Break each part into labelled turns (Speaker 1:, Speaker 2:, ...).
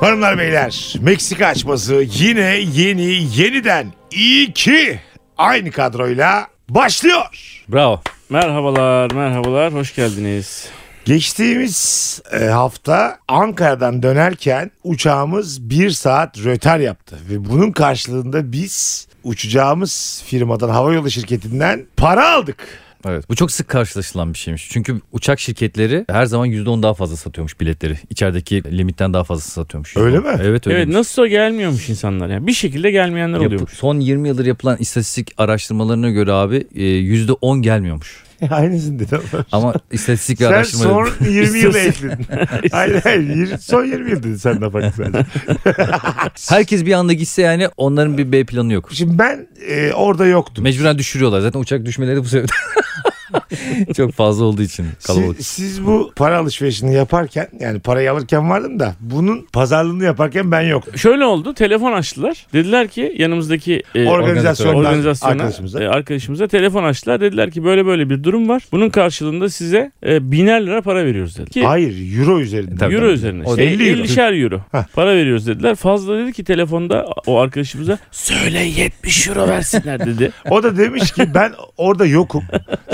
Speaker 1: Hanımlar beyler Meksika açması yine yeni yeniden iyi ki aynı kadroyla başlıyor.
Speaker 2: Bravo. Merhabalar, merhabalar. Hoş geldiniz.
Speaker 1: Geçtiğimiz e, hafta Ankara'dan dönerken uçağımız bir saat röter yaptı. Ve bunun karşılığında biz uçacağımız firmadan havayolu şirketinden para aldık.
Speaker 3: Evet. Bu çok sık karşılaşılan bir şeymiş. Çünkü uçak şirketleri her zaman %10 daha fazla satıyormuş biletleri. İçerideki limitten daha fazla satıyormuş.
Speaker 1: Öyle mi?
Speaker 3: Evet öyle.
Speaker 2: Evet nasılsa gelmiyormuş insanlar ya. Bir şekilde gelmeyenler oluyormuş.
Speaker 3: son 20 yıldır yapılan istatistik araştırmalarına göre abi e, %10 gelmiyormuş.
Speaker 1: Aynısını dedim.
Speaker 3: Ama istatistik ve
Speaker 1: Sen
Speaker 3: araştırma...
Speaker 1: son 20 yıl ekledin. hayır hayır yir- son 20 yıl dedin sen de farklı sadece.
Speaker 3: Herkes bir anda gitse yani onların bir B planı yok.
Speaker 1: Şimdi ben e, orada yoktum.
Speaker 3: Mecburen düşürüyorlar. Zaten uçak düşmeleri bu sebepten. çok fazla olduğu için kalabalık.
Speaker 1: Siz, siz bu para alışverişini yaparken yani parayı alırken vardım da bunun pazarlığını yaparken ben yoktum.
Speaker 2: Şöyle oldu. Telefon açtılar. Dediler ki yanımızdaki e,
Speaker 1: Organizasyondan
Speaker 2: organizasyona,
Speaker 1: arkadaşımıza.
Speaker 2: e, arkadaşımıza telefon açtılar. Dediler ki böyle böyle bir durum var. Bunun karşılığında size e, biner lira para veriyoruz dedi. Ki,
Speaker 1: Hayır euro üzerinden.
Speaker 3: Tabii.
Speaker 2: euro
Speaker 3: tabii.
Speaker 2: üzerine.
Speaker 3: O
Speaker 2: işte,
Speaker 1: da 50 euro.
Speaker 2: 50'şer euro.
Speaker 1: Heh.
Speaker 2: Para veriyoruz dediler. Fazla dedi ki telefonda o arkadaşımıza söyle 70 euro versinler dedi.
Speaker 1: O da demiş ki ben orada yokum.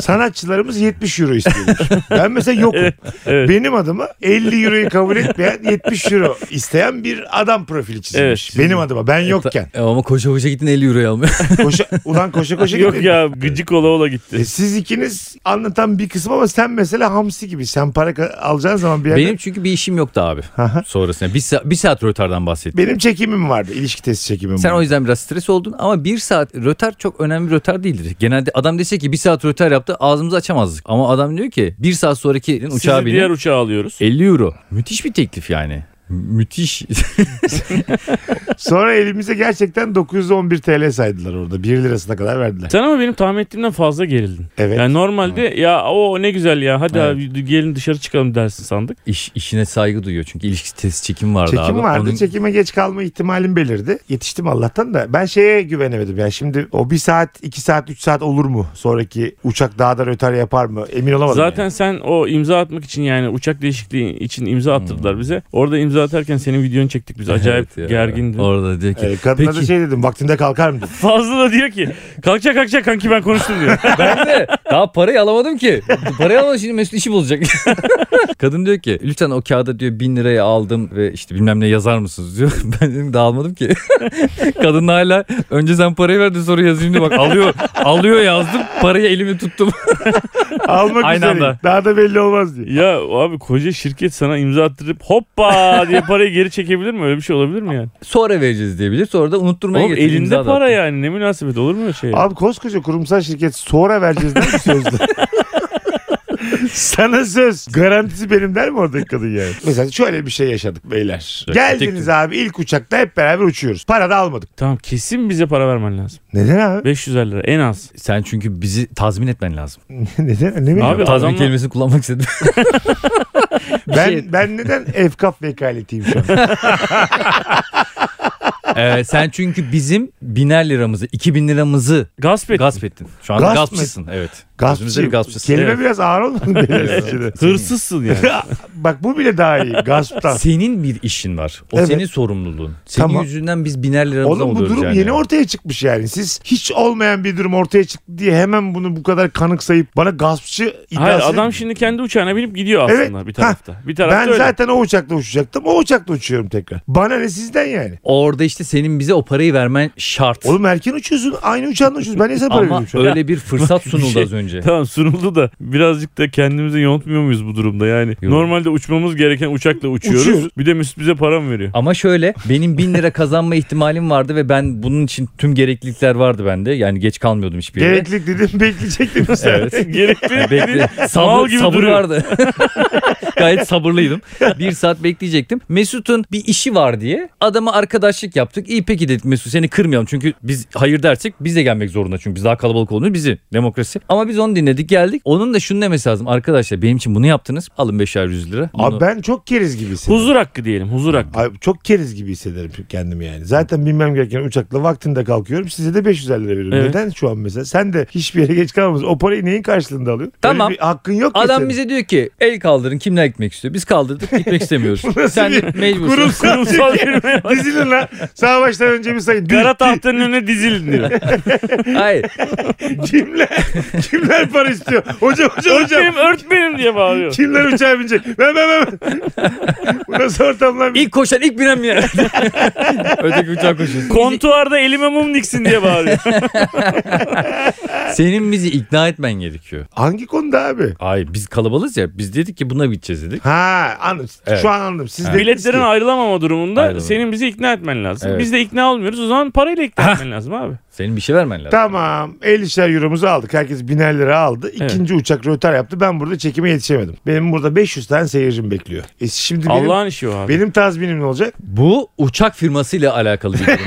Speaker 1: Sanatçılarımız 70 euro istiyormuş. Ben mesela yokum.
Speaker 2: evet.
Speaker 1: Benim adıma 50 euroyu kabul etmeyen 70 euro isteyen bir adam profili
Speaker 2: Evet,
Speaker 1: çizilmiş.
Speaker 2: çizilmiş.
Speaker 1: Benim adıma ben yokken.
Speaker 3: E, ama koşa koşa gittin 50 euroya almıyor.
Speaker 1: Koşa, ulan koşa koşa
Speaker 2: Yok
Speaker 1: gidelim.
Speaker 2: ya gıcık ola ola gitti.
Speaker 1: E siz ikiniz anlatan bir kısım ama sen mesela hamsi gibi. Sen para ka- alacağın zaman bir yerde...
Speaker 3: Benim çünkü bir işim yoktu abi. Sonrasında. Bir, sa- bir saat rötardan bahsettim.
Speaker 1: Benim çekimim vardı. ilişki testi çekimim
Speaker 3: Sen
Speaker 1: vardı.
Speaker 3: o yüzden biraz stres oldun ama bir saat rötar çok önemli bir rötar değildir. Genelde adam dese ki bir saat rötar yaptı ağzımızı açamazdık. Ama adam diyor ki bir saat sonraki uçağa
Speaker 2: Sizi
Speaker 3: binin
Speaker 2: diğer uçağa alıyoruz.
Speaker 3: 50 euro. Müthiş bir teklif yani. Mü- Müthiş.
Speaker 1: Sonra elimize gerçekten 911 TL saydılar orada. 1 lirasına kadar verdiler.
Speaker 2: Sen ama benim tahmin ettiğimden fazla gerildin.
Speaker 1: Evet.
Speaker 2: Yani normalde ya o ne güzel ya hadi
Speaker 3: Evet.
Speaker 2: abi gelin dışarı çıkalım dersin sandık.
Speaker 3: İş, işine saygı duyuyor çünkü ilişki test çekim vardı abi.
Speaker 1: Çekim vardı.
Speaker 3: Onun-
Speaker 1: Çekime geç kalma ihtimalim belirdi. Yetiştim Allah'tan da. Ben şeye güvenemedim. Yani şimdi o 1 saat, 2 saat, 3 saat olur mu? Sonraki uçak daha da rötar yapar mı? Emin olamadım.
Speaker 2: Zaten sen o imza atmak için yani uçak değişikliği için imza attırdılar bize. Orada imza atarken senin videonu çektik biz. Acayip
Speaker 3: Hmm. Evet ya.
Speaker 2: gergindi.
Speaker 3: Orada diyor ki
Speaker 1: yani. Ee, kadına da
Speaker 3: Peki.
Speaker 1: şey dedim. Vaktinde kalkar mı? dedim.
Speaker 2: Fazla da diyor ki kalkacak kalkacak kanki ben konuştum diyor.
Speaker 3: ben de daha parayı alamadım ki. Parayı alamadım şimdi Mesut işi bozacak. Kadın diyor ki lütfen o kağıda diyor bin liraya aldım ve işte bilmem ne yazar mısınız diyor. Ben dedim daha almadım ki. Kadın hala önce sen parayı verdin sonra yazayım diye bak alıyor alıyor yazdım parayı elimi tuttum.
Speaker 1: Almak
Speaker 3: Aynı
Speaker 1: üzereyim.
Speaker 3: anda.
Speaker 1: Daha da belli olmaz diye.
Speaker 2: ya abi koca şirket sana imza attırıp hoppa diye parayı geri çekebilir mi? Öyle bir şey olabilir mi yani?
Speaker 3: Sonra vereceğiz diyebilir sonra da unutturmaya
Speaker 2: Oğlum
Speaker 3: getirir,
Speaker 2: elinde
Speaker 3: imza da
Speaker 2: para
Speaker 3: attı.
Speaker 2: yani ne münasebet olur mu öyle şey?
Speaker 1: Abi koskoca kurumsal şirket sonra vereceğiz der mi sözde? Sana söz. Garantisi benim der mi oradaki kadın yani? Mesela şöyle bir şey yaşadık beyler.
Speaker 3: Yok,
Speaker 1: Geldiniz
Speaker 3: gidecektim.
Speaker 1: abi ilk uçakta hep beraber uçuyoruz. Para da almadık.
Speaker 2: Tamam kesin bize para vermen lazım.
Speaker 1: Neden abi?
Speaker 2: 500 lira en az.
Speaker 3: Sen çünkü bizi tazmin etmen lazım.
Speaker 1: neden? Ne bileyim.
Speaker 2: Abi
Speaker 3: tazmin
Speaker 2: adamla-
Speaker 3: kelimesini kullanmak istedim.
Speaker 1: ben, ben neden efkaf vekaletiyim şu an?
Speaker 3: Ee, sen çünkü bizim biner liramızı, 2000 liramızı
Speaker 2: Gasp et.
Speaker 3: gasp ettin. Şu an
Speaker 1: Gasp mı?
Speaker 3: gaspçısın. Evet. Gözümüzde
Speaker 1: Gaspçıyım.
Speaker 3: bir gaspçısın.
Speaker 1: Kelime
Speaker 3: Evet.
Speaker 1: biraz ağır olmadı mı? beyler?
Speaker 2: Hırsızsın yani.
Speaker 1: Bak bu bile daha iyi. Gasptan.
Speaker 3: Senin bir işin var. O
Speaker 1: Evet.
Speaker 3: senin sorumluluğun. Senin
Speaker 1: Tamam.
Speaker 3: yüzünden biz biner liramızı
Speaker 1: Oğlum bu
Speaker 3: alıyoruz
Speaker 1: durum
Speaker 3: yani.
Speaker 1: yeni ortaya çıkmış yani. Siz hiç olmayan bir durum ortaya çıktı diye hemen bunu bu kadar kanıksayıp bana gaspçı iddiası...
Speaker 2: Hayır adam şimdi kendi uçağına binip gidiyor aslında
Speaker 1: Evet,
Speaker 2: bir tarafta. Bir tarafta
Speaker 1: ben
Speaker 2: öyle.
Speaker 1: zaten o uçakla uçacaktım. O uçakla uçuyorum tekrar. Bana ne sizden yani?
Speaker 3: Orada işte senin bize o parayı vermen şart.
Speaker 1: Oğlum erken uçuyorsun. Aynı uçağınla uçuyorsun. Ben niye sana para
Speaker 3: Ama
Speaker 1: veriyorum şu an?
Speaker 3: öyle bir fırsat
Speaker 2: Bir
Speaker 3: sunuldu
Speaker 2: şey-
Speaker 3: az önce.
Speaker 2: Tamam sunuldu da birazcık da kendimizi yontmuyor muyuz bu durumda yani? Normalde uçmamız gereken uçakla uçuyoruz.
Speaker 1: Uçuyoruz.
Speaker 2: Bir de Mesut bize para mı veriyor?
Speaker 3: Ama şöyle benim 1000 lira kazanma ihtimalim vardı ve ben bunun için tüm gereklilikler vardı bende. Yani geç kalmıyordum hiçbir yere.
Speaker 1: Gereklilik dedim bekleyecektim sen.
Speaker 3: Evet.
Speaker 2: Gerekli.
Speaker 3: Bekle.
Speaker 2: Mal
Speaker 3: Sabır,
Speaker 2: gibi
Speaker 3: sabır
Speaker 2: duruyor.
Speaker 3: vardı. Gayet sabırlıydım. Bir saat bekleyecektim. Mesut'un bir işi var diye adama arkadaşlık yaptık. İyi peki dedik Mesut seni kırmayalım. Çünkü biz hayır dersek biz de gelmek zorunda. Çünkü biz daha kalabalık olduğunu bizi demokrasi. Ama biz biz onu dinledik geldik. Onun da şunu demesi lazım. Arkadaşlar benim için bunu yaptınız. Alın 5'er 100 lira. Bunu-
Speaker 1: Abi ben çok keriz gibi hissederim.
Speaker 2: Huzur hakkı diyelim huzur hakkı.
Speaker 1: Abi çok keriz gibi hissederim kendimi yani. Zaten binmem gereken uçakla vaktinde kalkıyorum. Size de 500 lira veriyorum.
Speaker 2: Evet.
Speaker 1: Neden şu an mesela? Sen de hiçbir yere geç kalmamız. O parayı neyin karşılığında alıyor? Öyle
Speaker 3: Tamam.
Speaker 1: bir hakkın yok ki
Speaker 3: Adam
Speaker 1: senin.
Speaker 3: bize diyor ki el kaldırın kimler gitmek istiyor. Biz kaldırdık gitmek istemiyoruz.
Speaker 1: nasıl
Speaker 3: Sen
Speaker 1: bir
Speaker 3: mecbursun.
Speaker 1: Kurumsal,
Speaker 2: Kurumsal
Speaker 1: Türkiye.
Speaker 2: firmaya bak.
Speaker 1: Dizilin lan. Sağ baştan önce bir sayın. Dün
Speaker 2: Kara tahtanın önüne dizilin diyor.
Speaker 3: Hayır.
Speaker 1: kimler, kimler para istiyor? Hocam hocam hocam.
Speaker 2: örtmenim örtmenim diye bağırıyor.
Speaker 1: Kimler uçağa binecek? Ben ben ben. ben. Bu nasıl ortam lan?
Speaker 3: İlk koşan ilk binen mi ya? Öteki uçağa koşuyorsun.
Speaker 2: Kontuarda elime mum diksin diye bağırıyor.
Speaker 3: Senin bizi ikna etmen gerekiyor.
Speaker 1: Hangi konuda abi?
Speaker 3: Ay biz kalabalız ya. Biz dedik ki buna gideceğiz dedik.
Speaker 1: Ha anladım.
Speaker 3: Evet.
Speaker 1: Şu an anladım. Siz dediniz
Speaker 2: Biletlerin
Speaker 1: ki-
Speaker 2: ayrılamama durumunda
Speaker 3: Ayrılamam.
Speaker 2: senin bizi ikna etmen lazım.
Speaker 3: Evet.
Speaker 2: Biz de ikna olmuyoruz o zaman parayla ikna etmen lazım abi.
Speaker 3: Senin bir şey vermen lazım.
Speaker 1: Tamam. 50'şer euromuzu aldık. Herkes biner lira aldı. İkinci uçak rötar yaptı. Ben burada çekime yetişemedim. Benim burada 500 tane seyircim bekliyor. E şimdi benim,
Speaker 2: Allah'ın işi o abi.
Speaker 1: benim tazminim ne olacak?
Speaker 3: Bu uçak firmasıyla alakalı bir durum.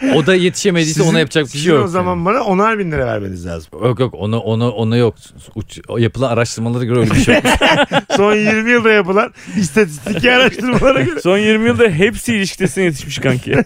Speaker 3: senin. o da yetişemediyse ona yapacak bir şey
Speaker 1: sizin
Speaker 3: yok.
Speaker 1: o zaman bana 10'ar bin lira vermeniz lazım.
Speaker 3: Yok yok ona ona ona yok. Uç- o yapılan araştırmalara göre öyle bir şey yok.
Speaker 1: Son 20 yılda yapılan istatistik araştırmalara göre.
Speaker 2: Son 20 yılda hepsi ilişkidesine yetişmiş kanki.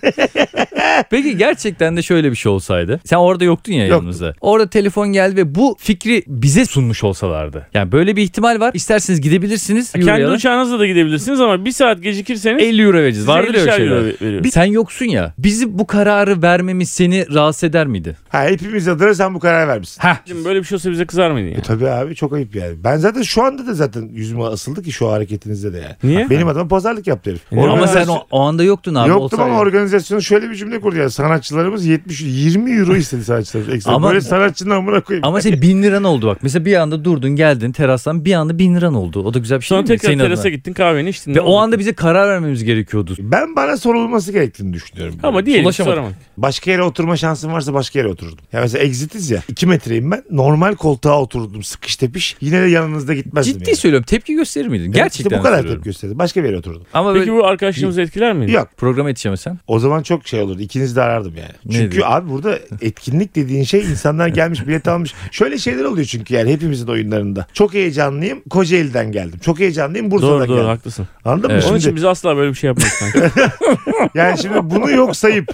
Speaker 3: Peki gerçekten de şöyle bir şey olsaydı. Sen orada yoktun ya
Speaker 1: Yoktum.
Speaker 3: yanımızda. Orada telefon geldi ve bu fikri bize sunmuş olsalardı. Yani böyle bir ihtimal var. İsterseniz gidebilirsiniz.
Speaker 2: Kendi
Speaker 3: Euro'ya da.
Speaker 2: uçağınızla da gidebilirsiniz ama bir saat gecikirseniz
Speaker 3: 50 euro vereceğiz. Vardır ya öyle şeyler.
Speaker 2: veriyor.
Speaker 3: Bir- Sen yoksun ya. Bizi bu kararı vermemiz seni rahatsız eder miydi?
Speaker 1: Ha, hepimiz adına sen bu karar vermişsin.
Speaker 3: Ha.
Speaker 2: Şimdi böyle bir şey olsa bize kızar mıydın
Speaker 1: E
Speaker 2: yani?
Speaker 1: tabii abi çok ayıp yani. Ben zaten şu anda da zaten yüzüme asıldı ki şu hareketinizde de yani.
Speaker 2: Niye?
Speaker 1: Benim adam pazarlık yaptı herif.
Speaker 2: Ama
Speaker 3: Ama
Speaker 1: Organizasyon-
Speaker 3: sen o, o anda yoktun E, abi.
Speaker 1: Yoktum
Speaker 3: olsa-
Speaker 1: ama organizasyonu şöyle bir cümle kurdu ya. Sanatçılarımız 70 20 euro istedi sanatçılarımız. Ekstra.
Speaker 3: Ama-
Speaker 1: Böyle sanatçının amına koyayım.
Speaker 3: Ama senin bin liran oldu bak. Mesela bir anda durdun geldin terastan bir anda bin liran oldu. O da güzel bir şey
Speaker 2: Sonra
Speaker 3: değil mi?
Speaker 2: tekrar
Speaker 3: Senin adına.
Speaker 2: terasa gittin kahveni içtin.
Speaker 3: Ve
Speaker 2: Ne
Speaker 3: o
Speaker 2: oldu?
Speaker 3: anda bize karar vermemiz gerekiyordu.
Speaker 1: Ben bana sorulması gerektiğini düşünüyorum.
Speaker 2: ama diyelim
Speaker 3: Ulaşamadık.
Speaker 2: soramadık.
Speaker 1: Başka yere oturma şansım varsa başka yere otururdum. Ya mesela exitiz ya. 2 metreyim ben. Normal koltuğa oturdum sıkış tepiş. Yine de yanınızda gitmezdim.
Speaker 3: Ciddi
Speaker 1: yani.
Speaker 3: söylüyorum tepki gösterir miydin?
Speaker 1: Evet,
Speaker 3: Gerçekten
Speaker 1: işte bu kadar
Speaker 3: söylüyorum.
Speaker 1: tepki gösterdi. Başka bir yere oturdum.
Speaker 3: Ama böyle
Speaker 2: Peki bu arkadaşlığımızı etkiler miydi?
Speaker 1: Yok.
Speaker 3: programa yetişemesen.
Speaker 1: O zaman çok şey olurdu. İkinizi de arardım yani.
Speaker 3: Ne
Speaker 1: Çünkü
Speaker 3: diyor?
Speaker 1: abi burada etkinlik dediğin şey insanlar gelmiş bilet almış. Şöyle şeyler oluyor çünkü yani hepimizin oyunlarında. Çok heyecanlıyım. Kocaeli'den geldim. Çok heyecanlıyım Bursa'dan
Speaker 2: Doğru doğru
Speaker 1: geldim.
Speaker 2: haklısın.
Speaker 1: Anladın
Speaker 3: Evet.
Speaker 1: mı?
Speaker 2: Onun
Speaker 1: Şimdi,
Speaker 2: için biz asla böyle bir şey yapmayız kanka.
Speaker 1: yani şimdi bunu yok sayıp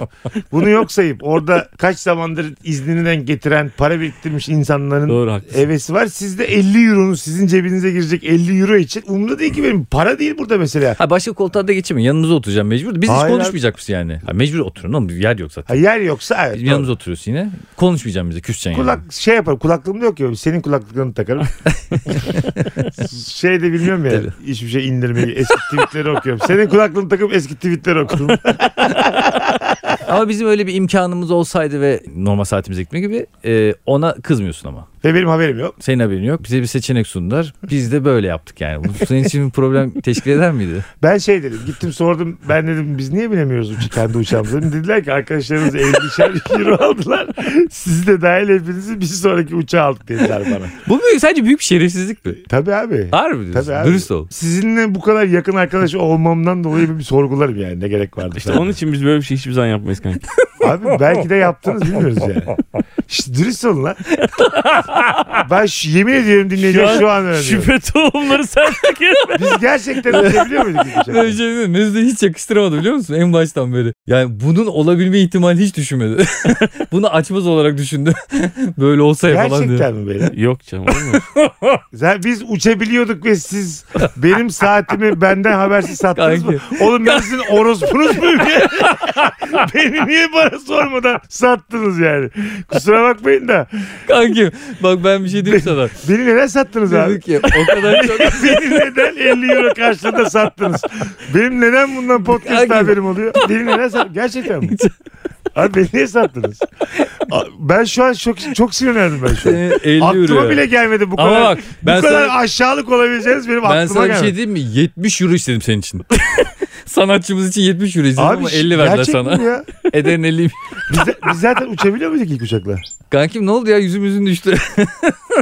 Speaker 1: bunu yok sayıp orada kaç zamandır izninden getiren para biriktirmiş insanların
Speaker 2: Doğru haklısın.
Speaker 1: hevesi var. Sizde 50 euronuz sizin cebinize girecek 50 euro için. Umurumda değil ki benim. Para değil burada mesela.
Speaker 3: Ha başka koltuğa da geçeyim. Yanımıza oturacağım mecbur. Biz hiç
Speaker 1: Hayır abi.
Speaker 3: konuşmayacak mısın yani? Ha, mecbur oturun oğlum. Yer yok zaten.
Speaker 1: Ha, yer yoksa evet.
Speaker 3: Biz yanımıza oturuyorsun yine. Konuşmayacaksın bize. Küseceksin
Speaker 1: Kulak
Speaker 3: yani.
Speaker 1: şey yaparım kulaklığımda yok ya senin kulaklıklarını takarım. şey de bilmiyorum ya
Speaker 3: Tabii.
Speaker 1: hiçbir şey indirmeyi eski tweetleri okuyorum. Senin kulaklığını takıp eski tweetleri okurum.
Speaker 3: Ama bizim öyle bir imkanımız olsaydı ve normal saatimize gitme gibi e, ona kızmıyorsun ama.
Speaker 1: Ve benim haberim yok.
Speaker 3: Senin haberin yok. Bize bir seçenek sundular. Biz de böyle yaptık yani. Bu senin için bir problem teşkil eder miydi?
Speaker 1: Ben şey dedim gittim sordum ben dedim biz niye binemiyoruz uç kendi uçağımıza. Dediler ki arkadaşlarımız 50'şer euro aldılar. Sizi de dahil hepinizi bir sonraki uçağa aldık dediler bana.
Speaker 3: Bu büyük, sence büyük bir şerefsizlik mi?
Speaker 1: Tabii abi.
Speaker 3: Harbi diyorsun.
Speaker 1: Tabii abi.
Speaker 3: Dürüst ol.
Speaker 1: Sizinle bu kadar yakın arkadaş olmamdan dolayı bir sorgularım yani ne gerek vardı.
Speaker 2: İşte onun için biz böyle bir şey hiçbir zaman yapmayız kanka.
Speaker 1: Abi belki de yaptınız bilmiyoruz yani. İşte dürüst olun lan. Ben şu- yemin ediyorum dinleyiciler şu an, öğreniyorum.
Speaker 2: şüphe tohumları sen takıyorsun.
Speaker 1: Biz gerçekten ödeyebiliyor muyduk? bu
Speaker 3: Ben
Speaker 1: uçağı?
Speaker 3: şey diyeyim, Mesut'u hiç yakıştıramadı biliyor musun? En baştan beri. Yani bunun olabilme ihtimali hiç düşünmedi. Bunu açmaz olarak düşündü. Böyle olsa ya falan diye.
Speaker 1: Gerçekten mi böyle?
Speaker 2: Yok canım olur mu?
Speaker 1: Zaten biz uçabiliyorduk ve siz benim saatimi benden habersiz sattınız mı? Oğlum ben sizin orospunuz muyum ya? Beni niye bana sormadan sattınız yani? Kusura bakmayın da.
Speaker 3: Kanki bak ben bir şey diyeyim sana.
Speaker 1: Beni neden sattınız abi?
Speaker 3: Dedik ki o kadar çok.
Speaker 1: Beni neden 50 euro karşılığında sattınız? Benim neden bundan podcast
Speaker 3: Hangi-
Speaker 1: haberim oluyor? Beni neden sattınız? Gerçekten mi? Abi beni niye sattınız? A- Ben şu an çok, çok sinirlendim ben şu an.
Speaker 3: Seni 50
Speaker 1: Aklıma
Speaker 3: euro.
Speaker 1: bile gelmedi bu
Speaker 3: Ama
Speaker 1: kadar.
Speaker 3: bak ben
Speaker 1: bu kadar
Speaker 3: sana,
Speaker 1: aşağılık olabileceğiniz benim
Speaker 3: ben
Speaker 1: aklıma
Speaker 3: sana bir
Speaker 1: gelmedi.
Speaker 3: şey diyeyim mi? 70 euro istedim senin için. Sanatçımız için 70 euro istedim ama
Speaker 1: şi-
Speaker 3: 50 verdiler
Speaker 1: gerçek
Speaker 3: sana.
Speaker 1: mi ya?
Speaker 3: Ederin 50
Speaker 1: Biz, de- biz zaten uçabiliyor muyduk ilk uçakla?
Speaker 3: Kankim ne oldu ya yüzüm yüzün düştü.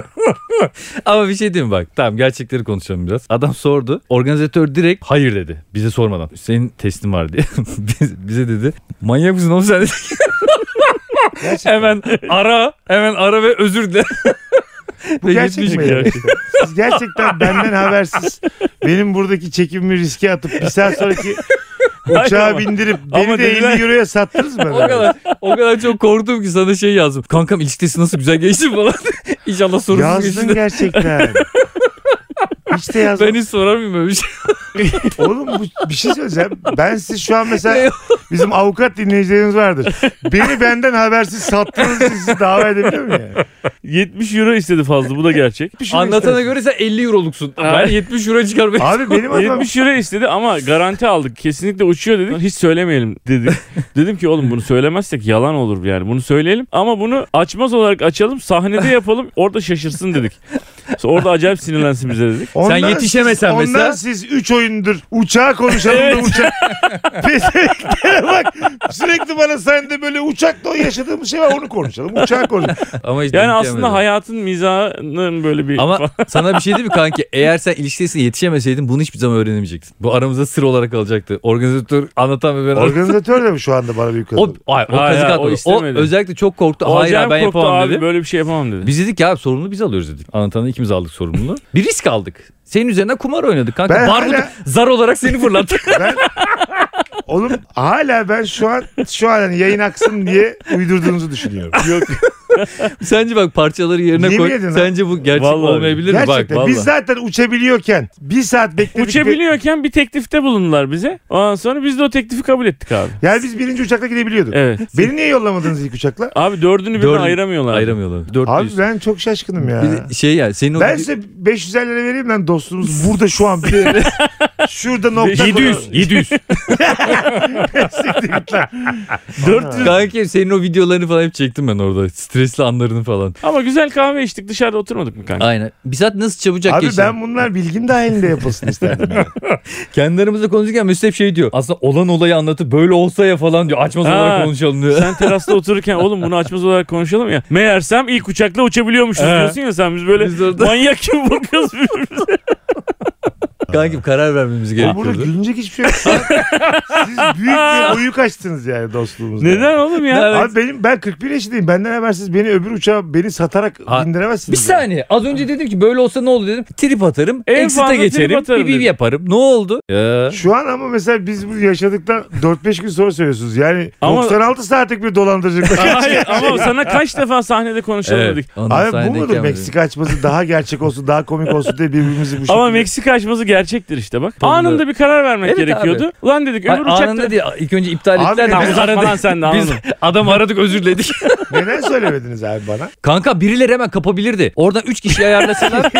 Speaker 3: Ama bir şey diyeyim bak. Tamam gerçekleri konuşalım biraz. Adam sordu. Organizatör direkt hayır dedi. Bize sormadan. Senin testin var diye. Biz- bize dedi. Manyak mısın oğlum sen?
Speaker 1: Gerçekten.
Speaker 3: Hemen ara, hemen ara ve özür dile.
Speaker 1: Bu
Speaker 3: Ve
Speaker 1: gerçek mi?
Speaker 3: gitmiş
Speaker 1: yani?
Speaker 3: yani.
Speaker 1: Siz gerçekten benden habersiz benim buradaki çekimimi riske atıp bir saat sonraki
Speaker 2: Hayır
Speaker 1: uçağa
Speaker 2: ama-
Speaker 1: bindirip beni
Speaker 2: ama
Speaker 1: de
Speaker 2: dediler-
Speaker 1: 50 euroya sattınız mı?
Speaker 3: O kadar, o kadar çok korktum ki sana şey yazdım. Kankam ilişkisi nasıl güzel geçti falan. İnşallah sorunsuz geçti.
Speaker 1: Yazdın
Speaker 3: de.
Speaker 1: gerçekten. Hiç de
Speaker 3: Ben
Speaker 1: yazmadım.
Speaker 3: hiç sorar mıyım öyle bir şey?
Speaker 1: Oğlum bu, bir şey söyleyeceğim. Ben siz şu an mesela
Speaker 3: Ne?
Speaker 1: bizim avukat dinleyicilerimiz vardır. Beni benden habersiz sattığınız için sizi dava edebilir mi yani?
Speaker 2: 70 euro istedi fazla bu da gerçek.
Speaker 1: Bir şey
Speaker 3: Anlatana
Speaker 1: istersin.
Speaker 3: göre sen 50 euroluksun. Ben
Speaker 2: Ay.
Speaker 3: 70 euro çıkarmayayım.
Speaker 1: Abi benim adıma şey-
Speaker 2: 70 euro istedi ama garanti aldık. Kesinlikle uçuyor dedik. Hiç söylemeyelim dedik. dedim ki oğlum bunu söylemezsek yalan olur yani. Bunu söyleyelim ama bunu açmaz olarak açalım. Sahnede yapalım. Orada şaşırsın dedik. Sonra orada acayip sinirlensin bize dedik.
Speaker 1: Ondan
Speaker 3: Sen yetişemesen
Speaker 1: siz,
Speaker 3: mesela.
Speaker 1: Ondan siz 3 oyundur uçağa konuşalım da uçak. Pezevenklere bak sürekli bana sen de böyle uçakta o yaşadığımız şey var onu konuşalım. Uçağa konuşalım.
Speaker 3: Ama hiç
Speaker 2: Yani
Speaker 3: denk
Speaker 2: aslında
Speaker 3: gelmedi.
Speaker 2: hayatın mizahının böyle bir...
Speaker 3: Ama sana bir şey diyeyim mi kanki? Eğer sen ilişkisine yetişemeseydin bunu hiçbir zaman öğrenemeyecektin. Bu aramızda sır olarak kalacaktı. Organizatör anlatan ve ben...
Speaker 1: Organizatör de mi şu anda bana büyük kadın?
Speaker 3: o, ay, o
Speaker 2: Hayır, hayır,
Speaker 3: kazık atmadı.
Speaker 2: o
Speaker 3: O,
Speaker 2: istemedi.
Speaker 3: özellikle çok korktu.
Speaker 2: O
Speaker 3: hayır
Speaker 2: acayip
Speaker 3: abi, ben
Speaker 2: korktu
Speaker 3: yapamam
Speaker 2: abi,
Speaker 3: dedi.
Speaker 2: Böyle bir şey yapamam dedi.
Speaker 3: Biz dedik ya abi, sorumluluğu biz alıyoruz dedik. Anlatanı ikimiz aldık sorumluluğu. bir risk aldık. Senin üzerine kumar oynadık kanka.
Speaker 1: Ben
Speaker 3: Barbut
Speaker 1: hala-
Speaker 3: zar olarak seni fırlattık.
Speaker 1: Ben, oğlum hala ben şu an şu an hani yayın aksın diye uydurduğunuzu düşünüyorum. Yok.
Speaker 3: Sence bak parçaları yerine
Speaker 1: Yemin
Speaker 3: koy.
Speaker 1: edin ha.
Speaker 3: Sence bu gerçek
Speaker 2: Vallahi.
Speaker 3: olmayabilir mi? Bak
Speaker 1: Gerçekten
Speaker 3: vallahi.
Speaker 1: biz zaten uçabiliyorken bir saat bekledik. de-
Speaker 2: Uçabiliyorken bir teklifte bulundular bize. Ondan sonra biz de o teklifi kabul ettik abi.
Speaker 1: Yani biz birinci uçakla gidebiliyorduk.
Speaker 2: Evet.
Speaker 1: Beni niye yollamadınız ilk uçakla?
Speaker 2: Abi dördünü birden
Speaker 3: Dördün-
Speaker 2: ayıramıyorlar.
Speaker 3: Ayıramıyorlar. 400.
Speaker 1: Abi ben çok şaşkınım ya.
Speaker 3: Bir de şey ya senin o
Speaker 1: Ben size 550 lira vereyim lan dostumuz burada şu an bir yerde. Şurada nokta
Speaker 2: 700,
Speaker 3: 700.
Speaker 1: Dört
Speaker 2: 400.
Speaker 3: Kanka senin o videolarını falan hep çektim ben orada. Stresli anlarını falan.
Speaker 2: Ama güzel kahve içtik dışarıda oturmadık mı kanka?
Speaker 3: Aynen. Bir saat nasıl çabucak
Speaker 1: Abi
Speaker 3: geçti.
Speaker 1: ben bunlar bilgim dahilinde yapılsın isterdim. yani.
Speaker 3: Kendi aramızda konuşurken Mesut hep şey diyor. Aslında olan olayı anlatıp böyle olsa ya falan diyor. Açmaz
Speaker 2: Ha.
Speaker 3: olarak konuşalım diyor.
Speaker 2: Sen terasta otururken oğlum bunu açmaz olarak konuşalım ya. Meğersem ilk uçakla uçabiliyormuşuz
Speaker 3: He.
Speaker 2: diyorsun ya sen biz böyle
Speaker 3: Biz orada-
Speaker 2: manyak gibi bakıyoruz birbirimize.
Speaker 3: Kankim karar vermemiz
Speaker 1: Ya Burada
Speaker 3: gerekiyordu.
Speaker 1: gülünecek hiçbir şey yok. Siz büyük bir oyuk açtınız yani dostluğumuzda.
Speaker 2: Neden oğlum ya?
Speaker 1: Abi benim ben 41 yaşındayım. Benden habersiz beni öbür uçağa beni satarak
Speaker 3: Ha-
Speaker 1: bindiremezsiniz.
Speaker 3: Bir saniye. Az önce dedim ki böyle olsa ne olur dedim. Trip atarım.
Speaker 2: En fazla
Speaker 3: exit'e
Speaker 2: trip
Speaker 3: geçerim.
Speaker 2: atarım
Speaker 3: Bir bir
Speaker 2: dedim.
Speaker 3: yaparım. Ne oldu? Ya.
Speaker 1: yani. Şu an ama mesela biz bu yaşadıktan 4-5 gün sonra söylüyorsunuz. Yani
Speaker 2: Ama-
Speaker 1: 96 saatlik bir dolandırıcılık.
Speaker 2: Hayır ama sana kaç defa sahnede konuşalım dedik.
Speaker 3: ondan
Speaker 1: Abi bu
Speaker 3: sahnedeyken
Speaker 1: mudur
Speaker 3: böyle.
Speaker 1: Meksika açması daha gerçek olsun daha komik olsun diye birbirimizi bu şekilde.
Speaker 2: Ama Meksika açması gerçektir işte bak.
Speaker 3: Tabii.
Speaker 2: Anında bir karar vermek
Speaker 3: Evet
Speaker 2: gerekiyordu. Ulan dedik
Speaker 3: Ay,
Speaker 2: öbür uçakta...
Speaker 3: anında değil. İlk önce iptal
Speaker 1: Abi
Speaker 3: ettiler. de
Speaker 1: tamam,
Speaker 3: biz
Speaker 2: uzatma
Speaker 3: aradık.
Speaker 2: lan sen de,
Speaker 3: Biz
Speaker 2: anladım.
Speaker 3: adam aradık özür diledik.
Speaker 1: Neden söylemediniz abi bana?
Speaker 3: Kanka birileri hemen kapabilirdi. Oradan 3 kişi ayarlasalar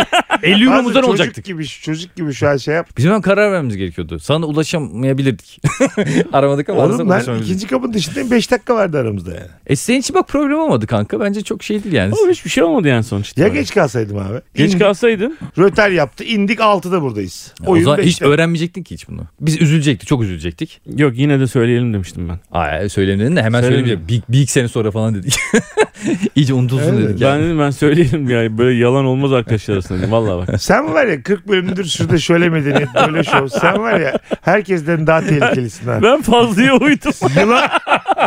Speaker 3: 50
Speaker 1: Abi
Speaker 3: euromuzdan
Speaker 1: çocuk
Speaker 3: olacaktık.
Speaker 1: Gibi, çocuk gibi şu an şey yap.
Speaker 3: Bizim hemen karar vermemiz gerekiyordu. Sana ulaşamayabilirdik. Aramadık ama arasam
Speaker 1: Oğlum ben
Speaker 3: ulaşamayabildik.
Speaker 1: ikinci kapının dışındayım 5 dakika vardı aramızda yani.
Speaker 3: E senin için bak problem olmadı kanka. Bence çok şey değil yani.
Speaker 2: Oğlum hiçbir şey olmadı yani sonuçta.
Speaker 1: Ya geç kalsaydım abi.
Speaker 2: Geç
Speaker 1: İndik,
Speaker 2: kalsaydın.
Speaker 1: Röter yaptı indik 6'da buradayız.
Speaker 3: o
Speaker 1: Oyun
Speaker 3: zaman hiç
Speaker 1: beşte.
Speaker 3: öğrenmeyecektin ki hiç bunu. Biz üzülecektik. Çok üzülecektik.
Speaker 2: Yok yine de söyleyelim demiştim ben.
Speaker 3: Ay e, söylemedin de hemen
Speaker 2: Söylemedim.
Speaker 3: söylemeyelim. Bir, bir iki sene sonra falan dedik. İyice unutulsun
Speaker 1: Evet.
Speaker 3: dedik.
Speaker 2: Ben
Speaker 3: Yani.
Speaker 2: dedim ben söyleyelim yani böyle yalan olmaz arkadaşlar arasında. dedim. Vallahi bak.
Speaker 1: Sen var ya 40 bölümdür şurada şöyle medeniyet böyle şov. Sen var ya herkesten daha tehlikelisin ha.
Speaker 2: Ben fazlaya uydum.
Speaker 1: Yılan,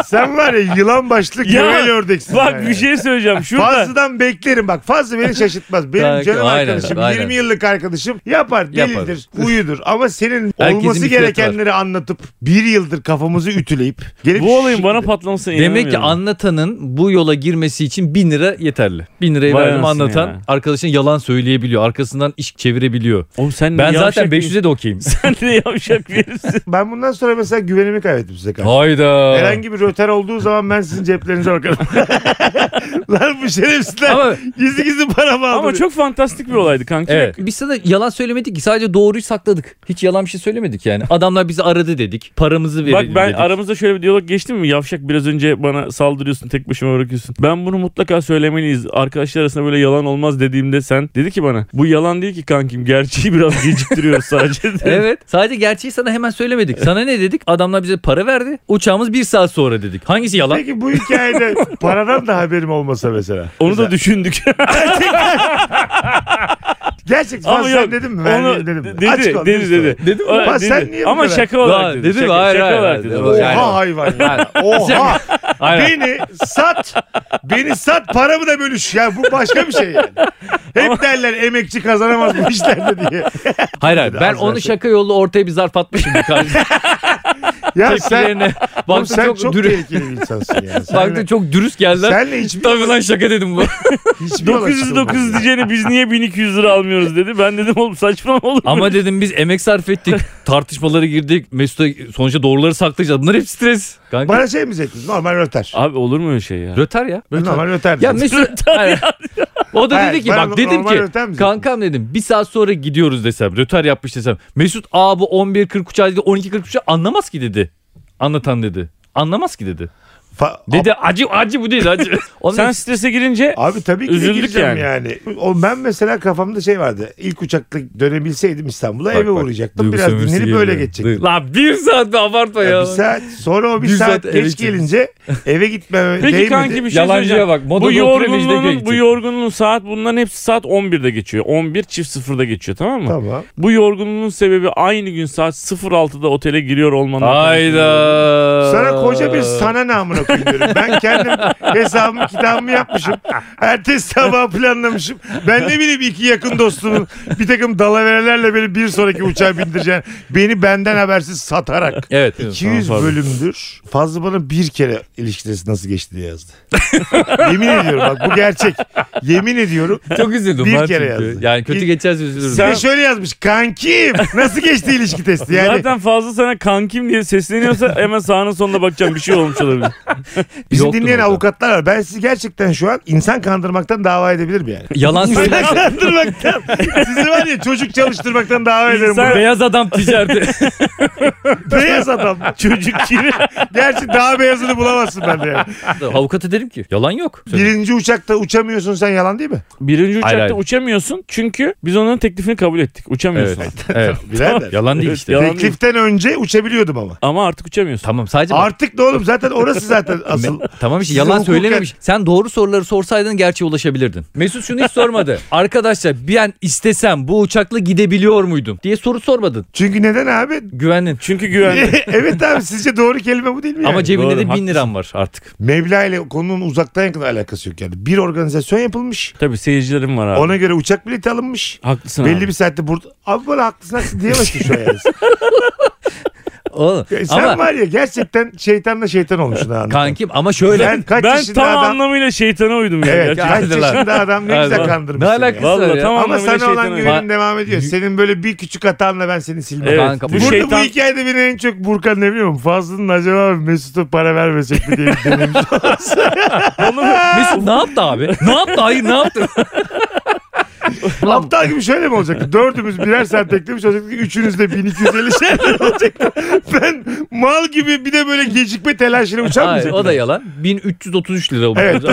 Speaker 1: sen var ya yılan başlı
Speaker 2: Ya,
Speaker 1: kemal ördeksin. ha
Speaker 2: Bak
Speaker 1: yani.
Speaker 2: bir şey söyleyeceğim. Şurada
Speaker 1: Fazlı'dan beklerim bak. Fazlı beni şaşırtmaz. Benim
Speaker 3: Kanka,
Speaker 1: canım
Speaker 3: aynen,
Speaker 1: arkadaşım
Speaker 3: aynen.
Speaker 1: 20 yıllık arkadaşım yapar delidir, uyudur ama senin
Speaker 3: Herkesin
Speaker 1: olması
Speaker 3: bir fiyatı
Speaker 1: gerekenleri anlatıp bir yıldır kafamızı ütüleyip gelip
Speaker 2: bu olayın bana
Speaker 1: şimdi-
Speaker 2: patlamasına inanamıyorum.
Speaker 3: Demek ki anlatanın bu yola girmesi için 1000 lira yeterli. 1000 lirayı
Speaker 2: Vay
Speaker 3: verdim
Speaker 2: anasını
Speaker 3: anlatan
Speaker 2: ya.
Speaker 3: arkadaşın yalan söyleyebiliyor. Arkasından iş çevirebiliyor.
Speaker 2: Oğlum sen
Speaker 3: Ben
Speaker 2: ne
Speaker 3: zaten
Speaker 2: yavşak bir-
Speaker 3: 500'e de okeyim.
Speaker 2: Sen ne yavşak verirsin.
Speaker 1: ben bundan sonra mesela güvenimi kaybettim size karşı.
Speaker 3: Hayda.
Speaker 1: Herhangi bir röter olduğu zaman ben sizin ceplerinize bakarım. Lan bu şerefsizler
Speaker 3: Ama
Speaker 1: gizli gizli paramı aldı.
Speaker 2: Ama çok fantastik bir olaydı kanki.
Speaker 3: evet. Biz sana yalan söylemedik ki sadece doğruyu sakladık. Hiç yalan bir şey söylemedik yani. Adamlar bizi aradı dedik. Paramızı
Speaker 2: Bak
Speaker 3: verelim
Speaker 2: ben
Speaker 3: dedik.
Speaker 2: aramızda şöyle bir diyalog geçti mi? Yavşak biraz önce bana saldırıyorsun tek başıma bırakıyorsun. Ben bunu mutlaka söylemeliyiz. Arkadaşlar arasında böyle yalan olmaz dediğimde sen dedi ki bana bu yalan değil ki kankim gerçeği biraz geciktiriyoruz sadece. dedi.
Speaker 3: Evet. Sadece gerçeği sana hemen söylemedik. Sana ne dedik? Adamlar bize para verdi. Uçağımız bir saat sonra dedik. Hangisi yalan?
Speaker 1: Peki bu hikayede paradan da haberim olmasa mesela.
Speaker 2: Onu da düşündük.
Speaker 1: Gerçekten
Speaker 2: Ama
Speaker 1: Ama sen
Speaker 2: yok,
Speaker 1: dedin mi? Ben
Speaker 2: onu
Speaker 1: niye dedim mi?
Speaker 2: dedi,
Speaker 1: Açık ol,
Speaker 2: dedi,
Speaker 1: dürüst ol.
Speaker 2: dedi.
Speaker 3: Dedim mi?
Speaker 2: O-
Speaker 1: Ulan
Speaker 2: dedi.
Speaker 1: sen niye bu
Speaker 2: Ama
Speaker 1: kadar-
Speaker 2: şaka olarak
Speaker 3: Ulan
Speaker 2: dedi.
Speaker 3: dedim,
Speaker 2: şaka,
Speaker 3: hayır,
Speaker 2: şaka
Speaker 3: hayır,
Speaker 2: olarak
Speaker 3: hayır.
Speaker 2: dedi.
Speaker 3: Dedim,
Speaker 2: Yani-
Speaker 3: hayır.
Speaker 1: Oha hayvan. ya. Oha. beni sat. Beni sat paramı da bölüş. Ya bu başka bir şey yani. Hep derler emekçi kazanamaz bu işlerde diye.
Speaker 3: Hayır hayır
Speaker 1: Az
Speaker 3: ben onu
Speaker 1: versin.
Speaker 3: şaka yolu ortaya bir zarf atmışım bu karşı
Speaker 1: Ya sen,
Speaker 3: tepkilerine.
Speaker 1: oğlum,
Speaker 3: Baktım
Speaker 1: sen çok,
Speaker 3: çok, dürüst.
Speaker 1: tehlikeli bir insansın yani.
Speaker 3: Baktım
Speaker 1: Senle,
Speaker 3: çok dürüst geldiler.
Speaker 1: senle hiçbir,
Speaker 3: Tabii lan şaka dedim bu.
Speaker 1: hiçbir yol
Speaker 2: 909
Speaker 1: açılmaz.
Speaker 2: diyeceğine biz niye 1200 lira almıyoruz dedi. Ben dedim oğlum saçmalama olur mu?
Speaker 3: Ama dedim biz emek sarf ettik. Tartışmalara girdik. Mesut'a sonuçta doğruları saklayacağız. Bunlar hep stres. Kanka.
Speaker 1: Bana şey mi diyecektin? Normal röter.
Speaker 2: Abi olur mu öyle şey ya?
Speaker 3: Röter ya. Röter.
Speaker 1: Normal röter.
Speaker 3: Ya
Speaker 1: Ya,
Speaker 3: Mesut. Hayır. O da
Speaker 1: Hayır,
Speaker 3: dedi ki
Speaker 1: bana
Speaker 3: bak dedim
Speaker 1: normal
Speaker 3: ki
Speaker 1: röter mi dedin?
Speaker 3: kankam dedim bir saat sonra gidiyoruz desem röter yapmış desem. Mesut aa bu 11.40 uçağı dedi 12.40 uçağı anlamaz ki dedi. Anlatan dedi. Anlamaz ki dedi. Dedi acı acı bu değil acı. Onun
Speaker 2: Sen strese girince
Speaker 1: Abi tabii ki de
Speaker 2: Üzüldük
Speaker 1: gireceğim yani. O, ben mesela kafamda şey vardı. İlk uçakla dönebilseydim İstanbul'a
Speaker 3: Bak,
Speaker 1: eve
Speaker 3: bak,
Speaker 1: uğrayacaktım.
Speaker 3: duygu
Speaker 1: Biraz
Speaker 3: sömürüsü
Speaker 1: dinlenip
Speaker 3: geliyor.
Speaker 1: böyle geçecektim.
Speaker 3: La bir saat be abartma
Speaker 1: Ya
Speaker 3: ya.
Speaker 1: bir saat sonra o bir,
Speaker 3: Bir
Speaker 1: saat,
Speaker 3: saat eve
Speaker 1: geç
Speaker 3: gideceğiz.
Speaker 1: gelince eve gitmeme
Speaker 2: Peki
Speaker 1: değmedi.
Speaker 2: kanki bir şey
Speaker 3: Yalancıya
Speaker 2: söyleyeceğim.
Speaker 3: bak, modada
Speaker 2: bu
Speaker 3: oturuyor, Mecidiye
Speaker 2: yorgunluğun,
Speaker 3: gidecek.
Speaker 2: bu yorgunluğun saat bunların hepsi saat 11'de geçiyor. 11 çift sıfırda geçiyor tamam mı?
Speaker 1: Tamam.
Speaker 2: Bu yorgunluğun sebebi aynı gün saat 06'da otele giriyor olmandan.
Speaker 3: Hayda.
Speaker 1: Sana koca
Speaker 3: Ee,
Speaker 1: bir sana namına koyuyorum. Ben kendim hesabımı kitabımı yapmışım. Ertesi sabah planlamışım. Ben ne bileyim iki yakın dostumun bir takım dalaverelerle beni bir sonraki uçağa bindireceğini beni benden habersiz satarak.
Speaker 3: Evet.
Speaker 1: 200
Speaker 2: pardon.
Speaker 1: bölümdür Fazlı bana bir kere ilişkisi nasıl geçti diye yazdı. Yemin ediyorum bak bu gerçek. Yemin ediyorum.
Speaker 3: Çok üzüldüm.
Speaker 1: Bir
Speaker 3: ben
Speaker 1: kere
Speaker 3: çünkü.
Speaker 1: yazdı.
Speaker 3: Yani kötü
Speaker 1: İlk-
Speaker 3: geçeceğiz üzülürüm.
Speaker 1: Bir de şöyle yazmış. Kankim nasıl geçti ilişki testi? Yani
Speaker 2: Zaten fazla sana kankim diye sesleniyorsa hemen sahanın sonuna bakacağım bir şey olmuş olabilir.
Speaker 1: Bizi
Speaker 3: Yoktu
Speaker 1: dinleyen
Speaker 3: burada.
Speaker 1: avukatlar var. Ben sizi gerçekten şu an insan kandırmaktan dava edebilirim yani.
Speaker 3: Yalan
Speaker 1: İnsan
Speaker 3: söylerse
Speaker 1: kandırmaktan. Sizi var ya çocuk çalıştırmaktan dava ederim.
Speaker 2: İnsan-
Speaker 1: Bunu.
Speaker 3: beyaz adam ticareti.
Speaker 1: Beyaz adam.
Speaker 2: Çocuk gibi.
Speaker 1: Gerçi daha beyazını bulamazsın bende yani.
Speaker 3: Avukata derim ki yalan yok.
Speaker 1: Birinci uçakta uçamıyorsun sen yalan değil mi?
Speaker 2: Birinci uçakta
Speaker 3: Hayır, hayır.
Speaker 2: uçamıyorsun çünkü biz onların teklifini kabul ettik. Uçamıyorsun.
Speaker 3: Evet. evet.
Speaker 1: Birader.
Speaker 3: Yalan değil işte.
Speaker 2: Yalan-
Speaker 1: Tekliften önce uçabiliyordum ama.
Speaker 2: Ama artık uçamıyorsun.
Speaker 3: Tamam sadece bak-
Speaker 1: Artık ne oğlum zaten orası zaten asıl.
Speaker 3: Me- tamam işte
Speaker 1: Size
Speaker 3: yalan
Speaker 1: hukuken-
Speaker 3: söylememiş. Sen doğru soruları sorsaydın gerçeğe ulaşabilirdin. Mesut şunu hiç sormadı. Arkadaşlar bir an istesem bu uçakla gidebiliyor muydum diye soru sormadın.
Speaker 1: Çünkü neden abi?
Speaker 3: Güvendin.
Speaker 2: Çünkü güvenli.
Speaker 1: evet abi sizce doğru kelime bu değil mi?
Speaker 3: Ama
Speaker 1: yani?
Speaker 3: cebinde
Speaker 2: doğru,
Speaker 3: de bin
Speaker 2: haklısın.
Speaker 3: liram var artık.
Speaker 1: Mevla ile konunun uzaktan yakın alakası yok yani. Bir organizasyon yapılmış.
Speaker 2: Tabii seyircilerim var abi.
Speaker 1: Ona göre uçak bileti alınmış.
Speaker 2: Haklısın abi.
Speaker 1: Belli bir saatte burada. Abi bana haklısın haklısın diyemezsin şu an yani.
Speaker 3: Oğlum,
Speaker 1: Ya Sen
Speaker 3: ama
Speaker 1: var ya gerçekten şeytanla şeytan olmuşsun ha.
Speaker 3: kankim ama şöyle.
Speaker 1: Sen kaç
Speaker 2: ben
Speaker 1: yaşında
Speaker 2: tam
Speaker 1: adam...
Speaker 2: anlamıyla şeytana uydum ya.
Speaker 1: Evet
Speaker 2: gerçekten.
Speaker 1: kaç
Speaker 3: Geldiler.
Speaker 1: yaşında adam ne güzel
Speaker 3: Aynen.
Speaker 1: kandırmışsın.
Speaker 3: Ne alakası
Speaker 1: ya.
Speaker 3: var
Speaker 2: Vallahi
Speaker 3: ya.
Speaker 2: tam
Speaker 1: Ama
Speaker 2: anlamıyla
Speaker 1: sana olan
Speaker 2: şeytana uydum.
Speaker 1: güvenin devam ediyor. Senin böyle bir küçük hatanla ben seni silmem.
Speaker 2: Evet.
Speaker 3: Kanka,
Speaker 2: bu
Speaker 1: Burada bu
Speaker 2: şeytan
Speaker 1: hikayede beni en çok burkan ne biliyor musun? Fazlı'nın acaba Mesut'a para vermesek mi diye bir denemiş.
Speaker 3: Mesut ne yaptı abi? Ne yaptı? Hayır ne yaptı?
Speaker 1: Aptal gibi şöyle mi olacaktı? Dördümüz birer saat beklemiş olacaktık. Üçünüz de 1250 şeyler olacaktı. Ben mal gibi bir de böyle gecikme telaşıyla
Speaker 3: Hayır,
Speaker 1: uçamayacaktım.
Speaker 3: o da yalan. 1333 lira olmuş.
Speaker 1: Evet,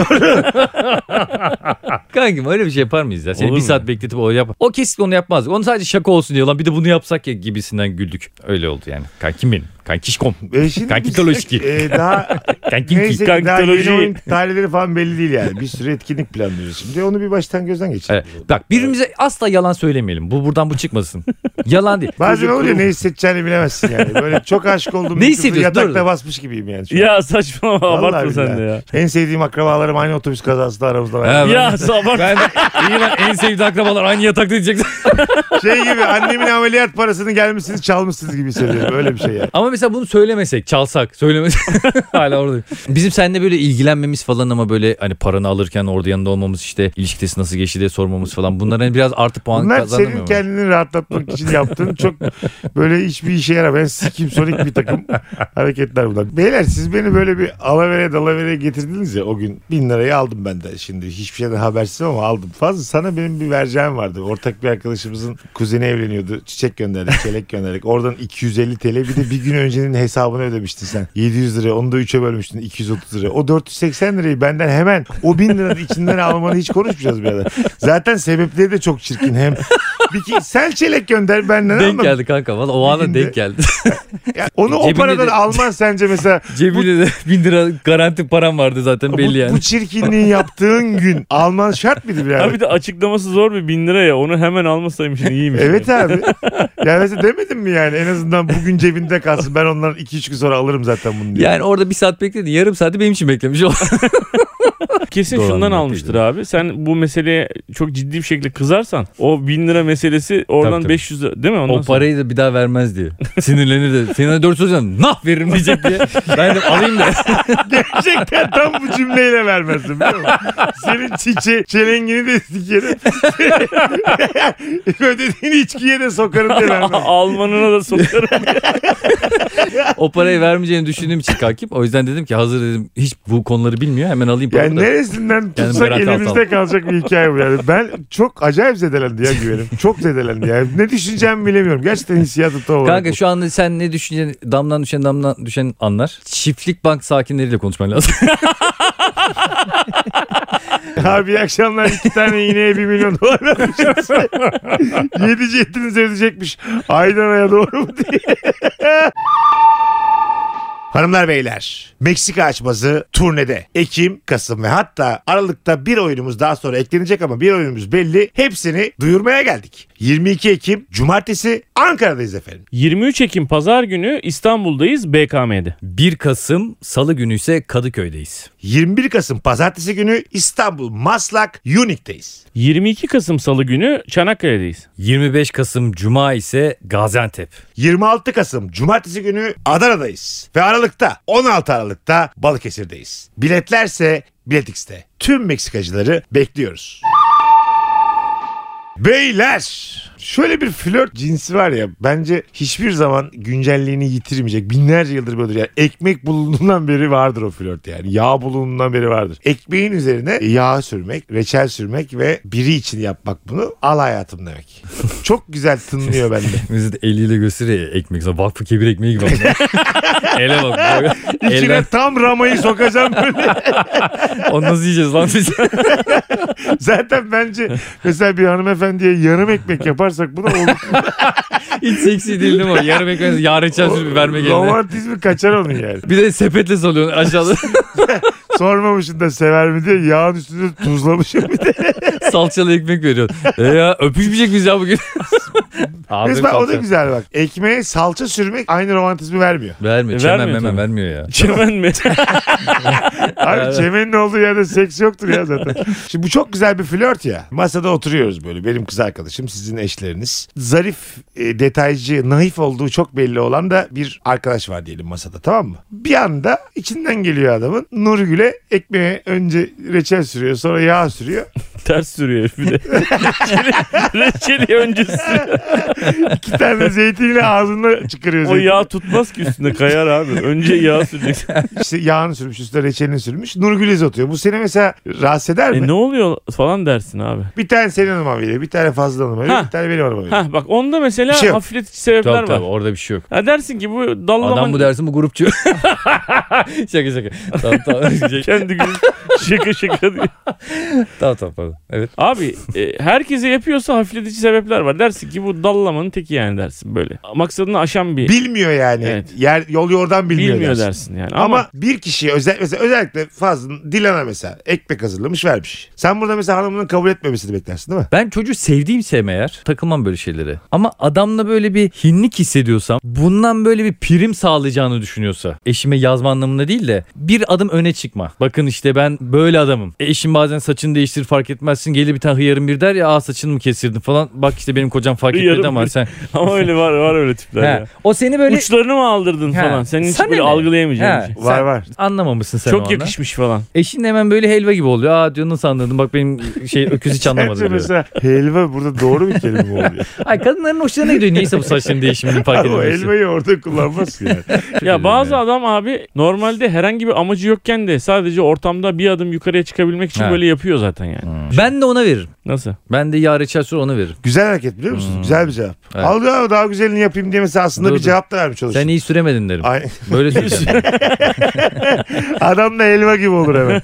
Speaker 3: Kankim öyle bir şey yapar mıyız ya? Seni
Speaker 2: Olur
Speaker 3: bir
Speaker 2: mu?
Speaker 3: saat bekletip o yap. O kesin onu yapmazdık. Onu sadece şaka olsun diye lan bir de bunu yapsak ya gibisinden güldük. Öyle oldu yani. Kankim benim. Kankişkom.
Speaker 1: E şimdi
Speaker 3: Kanki
Speaker 1: biz,
Speaker 3: Kaloşki.
Speaker 1: e, daha
Speaker 3: Kankim ki.
Speaker 1: neyse ki daha yeni
Speaker 2: Kankitoloji.
Speaker 1: oyun tarihleri falan belli değil yani. Bir sürü etkinlik planlıyoruz şimdi. Onu bir baştan gözden geçirelim.
Speaker 3: Evet. Bak birbirimize asla yalan söylemeyelim. Bu buradan bu çıkmasın. yalan değil.
Speaker 1: Bazen oluyor ne hissedeceğini bilemezsin yani. Böyle çok aşık olduğum bir
Speaker 3: Ne
Speaker 1: kızı
Speaker 3: hissediyorsun?
Speaker 1: yatakta
Speaker 3: Dur.
Speaker 1: basmış gibiyim yani. şu an.
Speaker 2: Ya saçmalama
Speaker 1: Vallahi
Speaker 2: abartma sen
Speaker 1: billahi.
Speaker 2: de ya.
Speaker 1: En sevdiğim akrabalarım aynı otobüs kazasında aramızda var.
Speaker 3: Evet.
Speaker 2: Ya sabah
Speaker 3: Ben iyi lan en sevdiği akrabalar aynı yatakta diyecekler.
Speaker 1: Şey gibi annemin ameliyat parasını gelmişsiniz çalmışsınız gibi hissediyorum. Öyle bir şey yani.
Speaker 3: ama mesela bunu söylemesek, çalsak, söylemesek hala orada. Bizim seninle böyle ilgilenmemiz falan ama böyle hani paranı alırken orada yanında olmamız işte ilişkisi nasıl geçti diye sormamız falan. Bunlar hani biraz artı puan
Speaker 1: Bunlar
Speaker 3: kazanamıyor
Speaker 1: senin
Speaker 3: mu?
Speaker 1: kendini rahatlatmak için yaptığın çok böyle hiçbir işe yaramayan sikim sonik bir takım hareketler bunlar. Beyler siz beni böyle bir alavere dalavere getirdiniz ya o gün. Bin lirayı aldım ben de şimdi hiçbir şeyden habersiz ama aldım. Fazla sana benim bir vereceğim vardı. Ortak bir arkadaşımızın kuzeni evleniyordu. Çiçek gönderdik, çelek gönderdik. Oradan 250 TL bir de bir gün öncenin hesabını ödemiştin sen. 700 lira onu da 3'e bölmüştün 230 lira. O 480 lirayı benden hemen o 1000 liranın içinden almanı hiç konuşmayacağız birader. Zaten sebepleri de çok çirkin hem bir ki sen çelek gönder ben benden
Speaker 3: denk
Speaker 1: alma.
Speaker 3: geldi kanka valla o ana
Speaker 1: Cebinde-
Speaker 3: denk geldi.
Speaker 1: Ya onu o
Speaker 3: Cebinde
Speaker 1: paradan
Speaker 3: de-
Speaker 1: alman sence mesela
Speaker 3: Cebinde de bin lira garanti param vardı zaten
Speaker 1: bu,
Speaker 3: belli yani.
Speaker 1: bu çirkinliği yaptığın gün alman şart mıydı birader?
Speaker 2: Abi de açıklaması zor bir bin lira ya onu hemen almasaymışsın iyiymiş.
Speaker 1: Evet abi. Ya mesela demedim mi yani en azından bugün cebinde kalsın. Ben ondan 2-3 gün sonra alırım zaten bunu diye.
Speaker 3: Yani orada bir saat bekledi. Yarım saati benim için beklemiş. o.
Speaker 2: Kesin
Speaker 3: Doğru
Speaker 2: şundan
Speaker 3: anlatıydı.
Speaker 2: almıştır abi. Sen bu meseleye çok ciddi bir şekilde kızarsan o bin lira meselesi oradan
Speaker 3: Tabii, tabii.
Speaker 2: 500 lira değil mi? Ondan
Speaker 3: o parayı da bir daha vermez diye. Sinirlenir de. Senin 400 lira nah veririm diyecek diye. Ben de alayım da.
Speaker 1: Gerçekten tam bu cümleyle vermezdim biliyor musun? Senin çiçe, çelengini de sikerim. Ödediğin içkiye de sokarım diye
Speaker 2: sonra
Speaker 1: vermezdim.
Speaker 2: Almanına da sokarım.
Speaker 3: O parayı vermeyeceğini düşündüğüm için kalkıp o yüzden dedim ki hazır dedim hiç bu konuları bilmiyor hemen alayım paramı
Speaker 1: Yani
Speaker 3: da.
Speaker 1: neresinden tutsak
Speaker 3: Berat Altan.
Speaker 1: elimizde kalacak bir hikaye bu yani. Ben çok acayip zedelendi ya güvenim. Çok zedelendi ya. Ne düşüneceğimi bilemiyorum. Gerçekten hissiyatı tam olarak
Speaker 3: Kanka
Speaker 1: bu.
Speaker 3: şu anda sen ne düşüneceksin damdan düşen damdan düşen anlar. Çiftlik bank sakinleriyle konuşman lazım.
Speaker 1: Abi iyi akşamlar iki tane iğneye bir milyon dolar vermişiz. Yedi cettiniz ödeyecekmiş. Aydana'ya doğru mu diye. Hanımlar beyler Meksika açması turnede Ekim, Kasım ve hatta Aralık'ta bir oyunumuz daha sonra eklenecek ama bir oyunumuz belli. Hepsini duyurmaya geldik. 22 Ekim Cumartesi Ankara'dayız efendim.
Speaker 2: 23 Ekim pazar günü İstanbul'dayız BKM'de.
Speaker 3: 1 Kasım salı günü ise Kadıköy'deyiz.
Speaker 1: 21 Kasım Pazartesi günü İstanbul Maslak Unique'deyiz.
Speaker 2: 22 Kasım salı günü Çanakkale'deyiz.
Speaker 3: 25 Kasım cuma ise Gaziantep.
Speaker 1: 26 Kasım Cumartesi günü Adana'dayız. Ve Aralık'ta 16 Aralık'ta Balıkesir'deyiz. Biletlerse Biletix'te. Tüm Meksikacıları bekliyoruz. Beyler şöyle bir flört cinsi var ya bence hiçbir zaman güncelliğini yitirmeyecek. Binlerce yıldır böyledir. Yani ekmek bulunduğundan beri vardır o flört yani. Yağ bulunduğundan beri vardır. Ekmeğin üzerine yağ sürmek, reçel sürmek ve biri için yapmak bunu al hayatım demek. Çok güzel tınlıyor bende.
Speaker 3: Bizi de eliyle gösteriyor ya ekmek. Sonra Vakfı kebir ekmeği gibi. ama. Ele bak. böyle.
Speaker 1: İçine
Speaker 3: Elden,
Speaker 1: tam ramayı sokacağım böyle.
Speaker 3: onu nasıl yiyeceğiz lan biz?
Speaker 1: Zaten bence mesela bir hanımefendiye yarım ekmek yaparsak bu da olur.
Speaker 3: Hiç seksi değil değil mi? o? Yarım ekmeği yarın içerisinde bir verme geldi.
Speaker 1: Romantizmi kaçar onun yani.
Speaker 3: Bir de sepetle salıyorsun aşağıda.
Speaker 1: Sormamışsın da sever mi diye yağın üstünü tuzlamışım bir de.
Speaker 3: Salçalı ekmek veriyorsun. E ya öpüşmeyecek miyiz ya bugün? Ağzım
Speaker 1: Resmen o da
Speaker 3: salça.
Speaker 1: güzel bak. Ekmeğe salça sürmek aynı romantizmi vermiyor.
Speaker 3: Vermiyor.
Speaker 2: E,
Speaker 3: Çemen
Speaker 2: vermiyor
Speaker 3: memen
Speaker 2: tabii.
Speaker 3: vermiyor ya.
Speaker 2: Çemen mi?
Speaker 1: Abi
Speaker 3: Evet.
Speaker 1: çemenin olduğu yerde seks yoktur ya zaten. Şimdi bu çok güzel bir flört ya. Masada oturuyoruz böyle. Benim kız arkadaşım, sizin eşleriniz. Zarif, e, detaycı, naif olduğu çok belli olan da bir arkadaş var diyelim masada tamam mı? Bir anda içinden geliyor adamın. Nurgül'e ekmeğe önce reçel sürüyor sonra yağ sürüyor.
Speaker 2: Ters sürüyor bir de. Reçeli- Reçeli öncesi.
Speaker 1: İki tane zeytinle ağzında çıkarıyor.
Speaker 2: O
Speaker 1: zeytini.
Speaker 2: yağ tutmaz ki üstünde kayar abi. Önce yağ süreceksin.
Speaker 1: İşte yağını sürmüş üstüne reçelini sürmüş. Nurgül izletiyor. Bu seni mesela rahatsız eder mi?
Speaker 2: E ne oluyor falan dersin abi.
Speaker 1: Bir tane senin hanıma veriyor. Bir tane fazla hanıma veriyor.
Speaker 2: Ha.
Speaker 1: Bir tane benim hanıma veriyor.
Speaker 2: Ha bak onda
Speaker 1: Bir
Speaker 2: mesela
Speaker 1: şey yok.
Speaker 2: hafifletici sebepler
Speaker 3: Tabii tabii
Speaker 2: var.
Speaker 3: orada bir şey yok.
Speaker 2: Ha dersin ki bu dallama
Speaker 3: Adam bu dersin bu grupçu. şaka şaka. Tamam tamam.
Speaker 2: kendi gülüyor. şaka şaka diyor.
Speaker 3: tamam tamam pardon. Evet.
Speaker 2: Abi e, herkese yapıyorsa hafifletici sebepler var. Dersin ki bu dallamanın teki yani dersin böyle. Maksadını aşan bir
Speaker 1: Bilmiyor yani.
Speaker 2: Evet.
Speaker 1: Yer yol yordan bilmiyor,
Speaker 2: bilmiyor,
Speaker 1: dersin.
Speaker 2: dersin. yani.
Speaker 1: Ama,
Speaker 2: Ama,
Speaker 1: bir kişiye özel mesela özellikle fazla Dilan'a mesela ekmek hazırlamış vermiş. Sen burada mesela hanımının kabul etmemesini beklersin değil mi?
Speaker 3: Ben çocuğu sevdiğimse eğer takılmam böyle şeylere. Ama adamla böyle bir hinlik hissediyorsam bundan böyle bir prim sağlayacağını düşünüyorsa eşime yazma anlamında değil de bir adım öne çıkma. Bakın işte ben böyle adamım. E, eşim bazen saçını değiştirir fark etmezsin. Gelir bir tane hıyarım bir der ya aa saçını mı kesirdin falan. Bak işte benim kocam fark
Speaker 2: Hıyarım
Speaker 3: etmedi ama
Speaker 2: bir.
Speaker 3: sen.
Speaker 2: ama öyle var var öyle tipler
Speaker 3: He.
Speaker 2: ya.
Speaker 3: O seni böyle
Speaker 2: Uçlarını mı aldırdın
Speaker 3: He.
Speaker 2: falan. Senin hiç
Speaker 3: Sana
Speaker 2: böyle
Speaker 3: ne?
Speaker 2: algılayamayacağın
Speaker 3: He.
Speaker 2: bir şey.
Speaker 1: Var
Speaker 3: Sen-
Speaker 1: var.
Speaker 3: anlamamışsın sen o
Speaker 2: Çok
Speaker 3: anda.
Speaker 2: yakışmış falan.
Speaker 3: Eşin de hemen böyle helva gibi oluyor. Aa diyor nasıl anladın bak benim şey öküz hiç anlamadı
Speaker 1: Bence
Speaker 3: diyor.
Speaker 1: mesela helva burada doğru bir kelime mi oluyor?
Speaker 3: Ay kadınların hoşlarına gidiyor. Neyse bu saçların değişimini fark
Speaker 1: Abi o
Speaker 3: edilmesi.
Speaker 1: helvayı orada kullanmazsın yani.
Speaker 2: Ya
Speaker 3: ederim
Speaker 2: bazı
Speaker 3: ya.
Speaker 2: adam abi normalde herhangi bir amacı yokken de sadece ortamda bir adım yukarıya çıkabilmek için
Speaker 3: He.
Speaker 2: böyle yapıyor zaten yani.
Speaker 3: Ben de ona veririm.
Speaker 2: Nasıl?
Speaker 3: Ben de yar içer sonra ona veririm.
Speaker 1: Güzel hareket biliyor musun? Güzel bir cevap.
Speaker 3: Hmm. Evet.
Speaker 1: Al ya daha güzelini yapayım diye mesela aslında
Speaker 3: Dur,
Speaker 1: bir
Speaker 3: dur.
Speaker 1: cevap da vermiş olursun.
Speaker 3: Sen iyi süremedin derim.
Speaker 1: Ay,
Speaker 3: Böyle söyleyeceğim.
Speaker 1: adam da elma gibi olur hemen.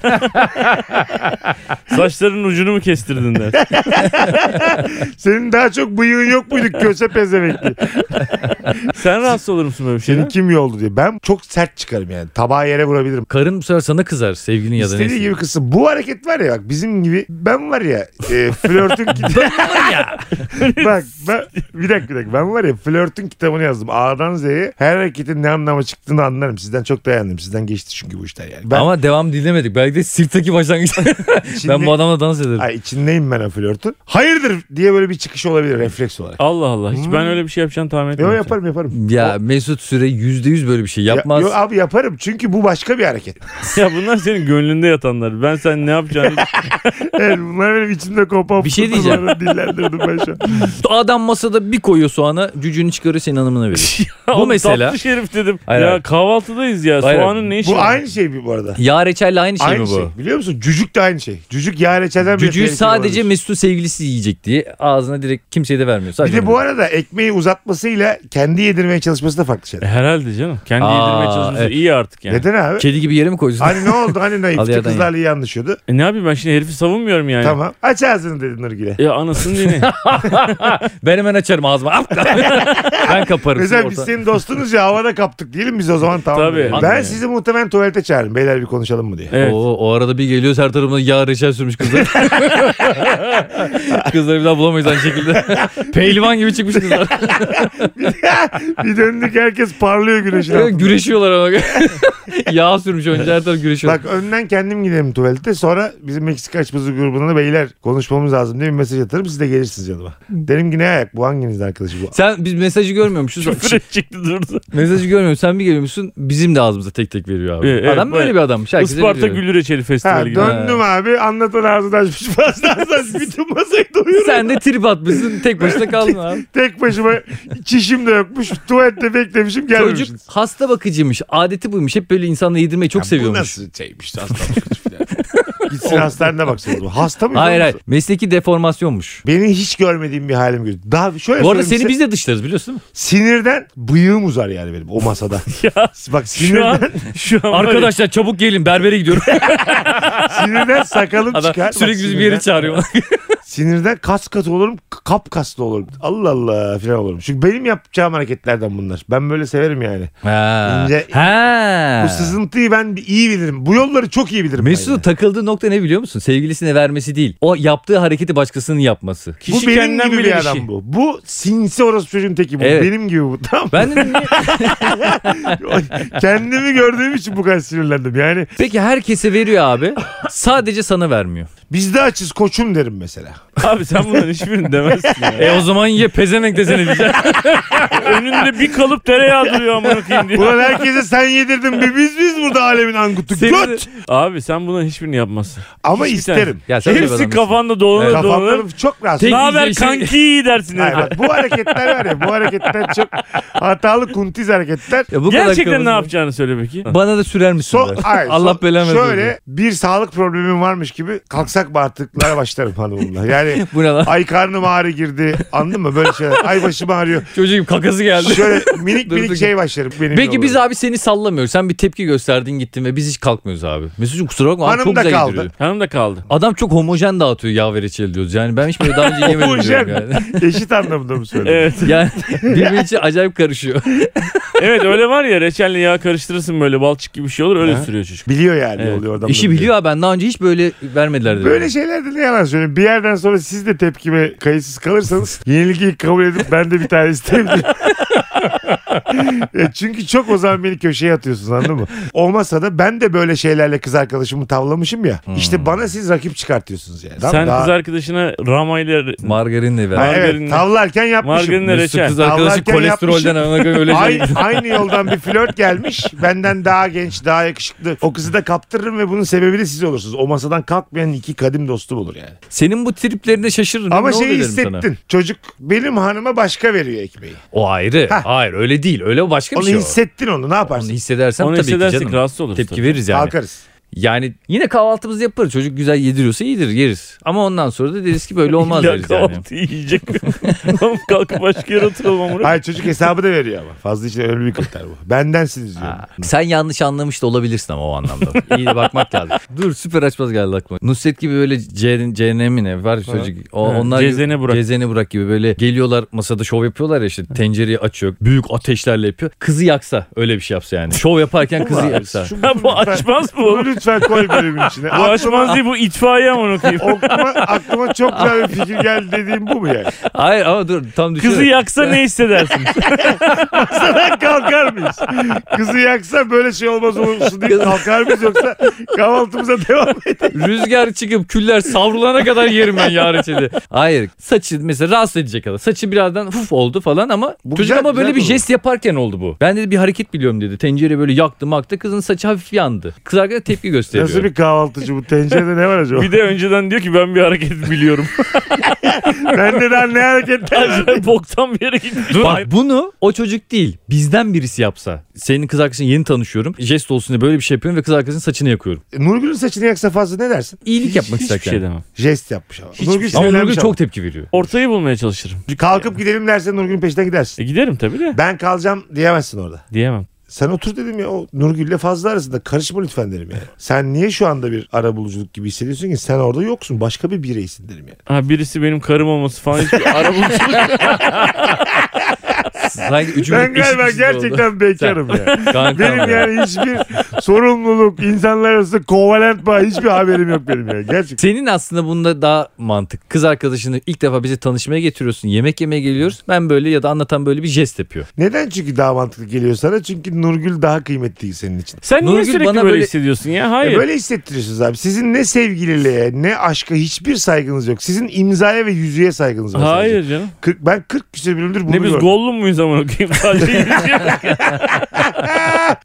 Speaker 2: Saçlarının ucunu mu kestirdin der.
Speaker 1: Senin daha çok bıyığın yok muydu köse pezemekli?
Speaker 2: Sen rahatsız olur musun böyle bir
Speaker 1: Senin
Speaker 2: şeyden?
Speaker 1: kim yoldu diye. Ben çok sert çıkarım yani. Tabağı yere vurabilirim.
Speaker 3: Karın bu sefer sana kızar sevgilin ya da neyse.
Speaker 1: İstediği gibi kısım. Bu hareket var ya bak bizim gibi ben var ya e, flörtün kitabı. bak ben, bir dakika bir dakika ben var ya flörtün kitabını yazdım. A'dan Z'ye her hareketin ne anlama çıktığını anlarım. Sizden çok dayandım. Sizden geçti çünkü bu işler yani. Ben,
Speaker 3: Ama devam dinlemedik. Belki de sirkteki başlangıç.
Speaker 1: içinde-
Speaker 3: ben bu adamla dans ederim.
Speaker 1: Ay, içindeyim ben o flörtün. Hayırdır diye böyle bir çıkış olabilir refleks olarak.
Speaker 2: Allah Allah. Hiç ben
Speaker 1: Hmm.
Speaker 2: öyle bir şey yapacağını tahmin
Speaker 1: Yo
Speaker 2: etmiyorum.
Speaker 1: yaparım yaparım.
Speaker 3: Ya Mesut Süre yüzde yüz böyle bir şey
Speaker 1: Ya-
Speaker 3: yapmaz.
Speaker 1: yo, abi yaparım çünkü bu başka bir hareket.
Speaker 2: Ya bunlar senin gönlünde yatanlar. Ben sen ne yapacağını
Speaker 1: Evet bunlar benim içimde kopan
Speaker 3: Bir şey diyeceğim.
Speaker 1: fırtınaları dillendirdim ben şu an.
Speaker 3: Adam masada bir koyuyor soğana cücüğünü çıkarıyor senin hanımına veriyor.
Speaker 2: Ya
Speaker 3: Bu
Speaker 2: oğlum
Speaker 3: mesela-
Speaker 2: Tatlı şerif dedim.
Speaker 3: Hayır,
Speaker 2: ya
Speaker 3: hayır.
Speaker 2: kahvaltıdayız ya.
Speaker 3: Hayır,
Speaker 2: Soğanın ne işi
Speaker 1: Bu
Speaker 2: var?
Speaker 1: aynı şey bir bu arada.
Speaker 3: Yağ reçelle aynı şey
Speaker 1: aynı
Speaker 3: mi bu?
Speaker 1: şey. Biliyor musun? Cücük de aynı şey. Cücük yağ reçelden bile
Speaker 3: Cücüğü
Speaker 1: tehlikeli
Speaker 3: sadece
Speaker 1: olabilir.
Speaker 3: Mesut'un sevgilisi yiyecek diye ağzına direkt kimseye de vermiyor. Sadece hani
Speaker 1: Bir de
Speaker 3: ona
Speaker 1: bu
Speaker 3: veriyor.
Speaker 1: arada ekmeği uzatmasıyla kendi yedirmeye çalışması da farklı şeyler.
Speaker 2: E, Herhalde canım. Kendi
Speaker 3: Aa,
Speaker 2: yedirmeye çalışması
Speaker 3: evet.
Speaker 2: iyi artık yani.
Speaker 1: Neden abi?
Speaker 3: Kedi gibi yere mi koyuyorsun?
Speaker 1: Hani ne oldu? Hani naif?
Speaker 3: Al
Speaker 1: İşte
Speaker 3: yerden
Speaker 1: kızlarla iyi anlaşıyordu.
Speaker 2: E ne yapayım ben şimdi herifi savunmuyorum yani.
Speaker 1: Tamam. Aç ağzını dedi Nurgül'e.
Speaker 2: Ya anasını dinle.
Speaker 3: ben hemen açarım ağzımı. ben kaparım.
Speaker 1: Mesela biz
Speaker 3: Orta-
Speaker 1: senin dostunuz ya havada kaptık diyelim biz o zaman tamam.
Speaker 2: Tabii.
Speaker 1: dedim. Ben
Speaker 3: Anladım.
Speaker 1: sizi muhtemelen tuvalete çağırırım. Beyler bir konuşalım mı diye.
Speaker 2: Evet.
Speaker 3: Oo, o arada bir geliyoruz her tarafına yağ reçel sürmüş kızlar. kızları bir daha bulamayız aynı şekilde. Pehlivan gibi çıkmış kızlar.
Speaker 1: bir döndük herkes parlıyor güneşin altında.
Speaker 3: güreşiyorlar ama. yağ sürmüş önce her taraf güreşiyor.
Speaker 1: Bak önden kendim gidelim tuvalete. Sonra bizim Meksika açmazı grubuna da beyler konuşmamız lazım diye bir mesaj atarım. Siz de gelirsiniz yanıma. Derim ki ne ayak bu hanginizin arkadaşı bu?
Speaker 3: Sen biz mesajı görmüyormuşuz.
Speaker 2: Küfür çıktı durdu.
Speaker 3: mesajı görmüyoruz. Sen bir geliyormuşsun bizim de ağzımıza tek tek veriyor abi.
Speaker 2: Evet, evet,
Speaker 3: Adam böyle
Speaker 2: bayağı.
Speaker 3: bir adammış. Herkese
Speaker 2: Isparta
Speaker 3: veriyor.
Speaker 2: Gül Reçeli
Speaker 1: Ha,
Speaker 2: Festivali gibi.
Speaker 1: döndüm abi anlatan ağzını açmış fazla fazla bütün masayı doyuruyor.
Speaker 3: Sen de trip atmışsın tek başına kaldın abi.
Speaker 1: Tek başıma çişim de yokmuş tuvalette beklemişim gelmemişim.
Speaker 3: Çocuk hasta bakıcıymış. Adeti buymuş. Hep böyle insanla yedirmeyi çok
Speaker 1: Ya
Speaker 3: seviyormuş.
Speaker 1: Bu nasıl şeymiş hasta bakıcı falan. Gitsin hastanede baksın o zaman. Hasta mı?
Speaker 2: şey?
Speaker 3: Hayır hayır. Mesleki deformasyonmuş.
Speaker 1: Beni hiç görmediğim bir halim gibi. Daha şöyle
Speaker 3: Bu arada
Speaker 1: söyleyeyim size,
Speaker 2: şey?
Speaker 3: seni biz de dışlarız biliyorsun değil mi?
Speaker 1: sinirden bıyığım uzar yani benim o masada.
Speaker 2: Ya
Speaker 1: Bak
Speaker 2: şu
Speaker 1: sinirden,
Speaker 2: an, şu an var ya-
Speaker 3: Arkadaşlar çabuk gelin berbere gidiyorum.
Speaker 1: sinirden sakalım
Speaker 3: Adam
Speaker 1: çıkar. Bak
Speaker 3: sürekli bizi bir yere
Speaker 1: sinirden-
Speaker 3: çağırıyor.
Speaker 1: Sinirden kas katı olurum, kapkaslı olurum. Allah Allah falan olurum. Çünkü benim yapacağım hareketlerden bunlar. Ben böyle severim yani.
Speaker 3: ha.
Speaker 1: İnce-
Speaker 3: ha.
Speaker 1: Bu sızıntıyı ben bir iyi bilirim. Bu yolları çok iyi bilirim. ben yani.
Speaker 3: Mesut'un takıldığı nokta ne biliyor musun? Sevgilisine vermesi değil. O yaptığı hareketi başkasının yapması.
Speaker 1: bu
Speaker 2: Kişi
Speaker 1: benim
Speaker 2: kendinden
Speaker 1: gibi
Speaker 2: bile
Speaker 1: bir
Speaker 2: bir
Speaker 1: adam
Speaker 2: şey.
Speaker 1: bu. Bu sinsi orası çocuğun teki bu.
Speaker 3: Evet.
Speaker 1: Benim gibi bu. Tamam.
Speaker 3: Ben de
Speaker 1: Kendimi gördüğüm için bu kadar sinirlendim. Yani
Speaker 3: peki herkese veriyor abi. Sadece sana vermiyor.
Speaker 1: biz de açız koçum derim mesela.
Speaker 2: Abi sen bunların hiçbirini demezsin ya.
Speaker 3: E o zaman ye pezemek desene diyeceğim.
Speaker 2: Önünde bir kalıp tereyağı duruyor amına koyayım diye.
Speaker 1: Ulan herkese sen yedirdin. Bir biz biz burada alemin angutu.
Speaker 3: Senin-
Speaker 1: Göt.
Speaker 2: Abi sen bunların hiçbirini yapmazsın.
Speaker 1: Ama
Speaker 2: Hiçbir
Speaker 1: isterim.
Speaker 3: Ya sen de bir
Speaker 2: Hepsi
Speaker 3: adamsın.
Speaker 2: kafanda dolanır dolanır.
Speaker 1: Kafamlarım çok rahatsız.
Speaker 3: Tek-
Speaker 2: Ne haber
Speaker 3: Yiyeceği şey-
Speaker 2: kanki dersin.
Speaker 1: Hayır,
Speaker 2: herif.
Speaker 1: bak, bu hareketler var ya bu hareketler çok hatalı kuntiz hareketler.
Speaker 3: Ya bu kadar
Speaker 2: Gerçekten ne
Speaker 3: kafasını-
Speaker 2: yapacağını söyle peki.
Speaker 3: Bana da sürer misin?
Speaker 1: Son,
Speaker 3: be?
Speaker 1: hayır,
Speaker 3: Allah
Speaker 1: son-
Speaker 3: belanı versin.
Speaker 1: Şöyle bir sağlık problemim varmış gibi kalksak bağırtıklara başlarım hanımımla. Yani
Speaker 3: Bu ne lan?
Speaker 1: ay karnım ağrı girdi anladın mı böyle şeyler. Ay başım ağrıyor.
Speaker 3: Çocuğum kakası geldi.
Speaker 1: Şöyle minik
Speaker 3: Dur, dur.
Speaker 1: minik şey başlarım. Benim
Speaker 3: Peki biz abi seni sallamıyoruz. Sen bir tepki gösterdin gittin ve biz hiç kalkmıyoruz abi. Mesut'cum kusura bakma abi
Speaker 1: Hanım
Speaker 3: çok
Speaker 1: da
Speaker 3: güzel
Speaker 1: kaldı.
Speaker 3: yediriyor.
Speaker 2: Hanım da kaldı.
Speaker 3: Adam çok homojen dağıtıyor yağ ve reçeli diyoruz. Yani ben hiç böyle daha önce yemedim
Speaker 1: Homojen.
Speaker 3: diyorum yani.
Speaker 1: Eşit anlamında mı söyledin?
Speaker 2: Evet.
Speaker 3: Yani birbiri için acayip karışıyor.
Speaker 2: evet öyle var ya reçelle yağ karıştırırsın böyle balçık gibi bir şey olur öyle
Speaker 1: Ha?
Speaker 2: sürüyor çocuk.
Speaker 1: Biliyor yani
Speaker 2: Evet.
Speaker 1: oluyor adam.
Speaker 3: İşi biliyor abi ben daha önce hiç böyle vermediler dedi.
Speaker 1: Böyle şeylerde ne yalan söyleyeyim. Bir yerden sonra siz de tepkime kayıtsız kalırsanız yenilgiyi kabul edip ben de bir tane isteyebilirim. Ya çünkü çok o zaman beni köşeye atıyorsunuz anladın mı? Olmasa da ben de böyle şeylerle kız arkadaşımı tavlamışım ya. İşte bana siz rakip çıkartıyorsunuz yani. Tamam,
Speaker 2: Hmm. Sen
Speaker 1: daha-
Speaker 2: kız arkadaşına rama ile
Speaker 3: Margarinle
Speaker 1: Ha,
Speaker 3: ver.
Speaker 1: evet
Speaker 2: margarinle-
Speaker 1: tavlarken yapmışım.
Speaker 2: margarinle
Speaker 3: Mesut
Speaker 2: reçel.
Speaker 3: kız arkadaşı
Speaker 1: Allah'ken
Speaker 3: kolesterolden ana göre öyle şey.
Speaker 1: Aynı, aynı yoldan bir flört gelmiş. Benden daha genç, daha yakışıklı. O kızı da kaptırırım ve bunun sebebi de siz olursunuz. O masadan kalkmayan iki kadim dostum olur yani.
Speaker 3: Senin bu triplerine şaşırırım.
Speaker 1: Ama
Speaker 3: ne oluyor
Speaker 1: şeyi
Speaker 3: derim sana.
Speaker 1: hissettin. Çocuk benim hanıma başka veriyor ekmeği.
Speaker 3: O ayrı.
Speaker 1: Ha.
Speaker 3: Hayır öyle değil. Öyle başka bir
Speaker 1: Onu
Speaker 3: şey o.
Speaker 1: hissettin onu. Ne
Speaker 3: Onu
Speaker 1: yaparsın?
Speaker 3: hissedersen
Speaker 2: Onu
Speaker 3: tabii ki
Speaker 2: hissedersek
Speaker 3: canım.
Speaker 2: rahatsız oluruz.
Speaker 3: Tepki
Speaker 2: tabii.
Speaker 3: veririz yani.
Speaker 1: Kalkarız.
Speaker 3: Yani yine kahvaltımızı yaparız. Çocuk güzel yediriyorsa yedir yeriz. Ama ondan sonra da deriz ki böyle olmaz
Speaker 2: İlla
Speaker 3: deriz yani.
Speaker 2: kahvaltı yiyecek. Oğlum kalkıp başka yere oturalım amına.
Speaker 1: Hayır çocuk hesabı da veriyor ama. Fazla işte önemli bir kriter bu. Bendensiniz diyor.
Speaker 3: Ha, Sen yanlış anlamış da olabilirsin ama o anlamda. İyi de bakmak lazım. Dur süper açmaz geldi aklıma. Nusret gibi böyle C- CNM mi ne var çocuk. O,
Speaker 2: Evet,
Speaker 3: onlar
Speaker 2: Cezene
Speaker 3: gibi,
Speaker 2: Burak.
Speaker 3: Cezene Burak gibi böyle geliyorlar masada şov yapıyorlar ya işte tencereyi açıyor. Büyük ateşlerle yapıyor. Kızı yaksa öyle bir şey yapsa yani. Şov yaparken kızı yaksa.
Speaker 2: Ya bu açmaz bu.
Speaker 1: Bunu lütfen koy bölümün içine.
Speaker 2: Bu açmaz
Speaker 1: aklıma,
Speaker 2: değil bu itfaiye amına koyayım.
Speaker 1: aklıma, aklıma çok güzel bir fikir geldi dediğim bu mu yani?
Speaker 3: Hayır ama dur tam
Speaker 2: Kızı
Speaker 3: düşünüyorum.
Speaker 2: yaksa ne hissedersin?
Speaker 1: Sana kalkar mıyız? Kızı yaksa böyle şey olmaz olursun diye kalkar mıyız yoksa kahvaltımıza devam
Speaker 3: Rüzgar çıkıp küller savrulana kadar yerim ben yarın içeri. Hayır saçı mesela rahatsız edecek kadar. Saçı birazdan huf oldu falan ama
Speaker 1: Bu
Speaker 3: çocuk
Speaker 1: güzel-
Speaker 3: ama böyle
Speaker 1: güzel
Speaker 3: bir
Speaker 1: olur.
Speaker 3: jest yaparken oldu bu. Ben dedi bir hareket biliyorum dedi. Tencere böyle yaktı maktı kızın saçı hafif yandı. Kız arkadaş tepki gösteriyor.
Speaker 1: Nasıl bir kahvaltıcı bu? Tencerede ne var acaba?
Speaker 2: bir de önceden diyor ki ben bir hareket biliyorum.
Speaker 1: Bende daha ne hareketler var?
Speaker 2: Acayip Boktan bir yere gitti.
Speaker 3: Dur. Bak bunu o çocuk değil bizden birisi yapsa. Senin kız arkadaşın yeni tanışıyorum. Jest olsun diye böyle bir şey yapıyorum ve kız arkadaşın saçını yakıyorum.
Speaker 1: Nurgül'ün saçını yaksa fazla ne dersin?
Speaker 3: İyilik yapmak
Speaker 2: Hiçbir
Speaker 3: isterken.
Speaker 2: şey demem.
Speaker 1: Jest yapmış ama.
Speaker 2: Hiçbir
Speaker 1: Nurgül
Speaker 2: şey.
Speaker 3: ama
Speaker 1: sinirlenmiş
Speaker 3: Nurgül
Speaker 1: ama.
Speaker 3: çok tepki veriyor.
Speaker 2: Ortayı bulmaya çalışırım.
Speaker 1: Kalkıp gidelim dersen Nurgül'ün peşinden gidersin.
Speaker 2: E giderim tabii de
Speaker 1: Ben kalacağım diyemezsin orada.
Speaker 2: diyemem.
Speaker 1: Sen otur dedim ya o Nurgül'le fazla arasında karışma lütfen derim yani. Sen niye şu anda bir ara buluculuk gibi hissediyorsun ki sen orada yoksun başka bir bireysin derim yani.
Speaker 2: Ha birisi benim karım olması falan hiç
Speaker 3: Sanki üçümüz
Speaker 1: Ben galiba
Speaker 3: eşit güçlü oldu.
Speaker 1: gerçekten bekarım ya.
Speaker 3: Kankam
Speaker 1: Benim
Speaker 3: ya.
Speaker 1: yani hiçbir sorumluluk, insanlar arası kovalent bağ hiçbir haberim yok benim yani. Gerçekten.
Speaker 3: Senin aslında bunda daha mantık. Kız arkadaşını ilk defa bizi tanışmaya getiriyorsun. Yemek yemeye geliyoruz. Ben böyle ya da anlatan böyle bir jest yapıyor.
Speaker 1: Neden çünkü daha mantıklı geliyor sana? Çünkü Nurgül daha kıymetli değil senin için.
Speaker 2: Sen niye
Speaker 3: Nurgül
Speaker 2: sürekli
Speaker 3: bana
Speaker 2: böyle
Speaker 3: böyle-
Speaker 2: hissediyorsun ya?
Speaker 1: E
Speaker 2: Hayır.
Speaker 1: böyle hissettiriyorsunuz abi. Sizin ne sevgililiğe ne aşka hiçbir saygınız yok. Sizin imzaya ve yüzüğe saygınız şey var. sadece.
Speaker 2: Hayır canım.
Speaker 1: 40, ben 40 küsur bölümdür bunu
Speaker 2: Ne biz
Speaker 1: gördüm.
Speaker 2: gollum muyuz amına koyayım? Sadece yürüyeceğiz.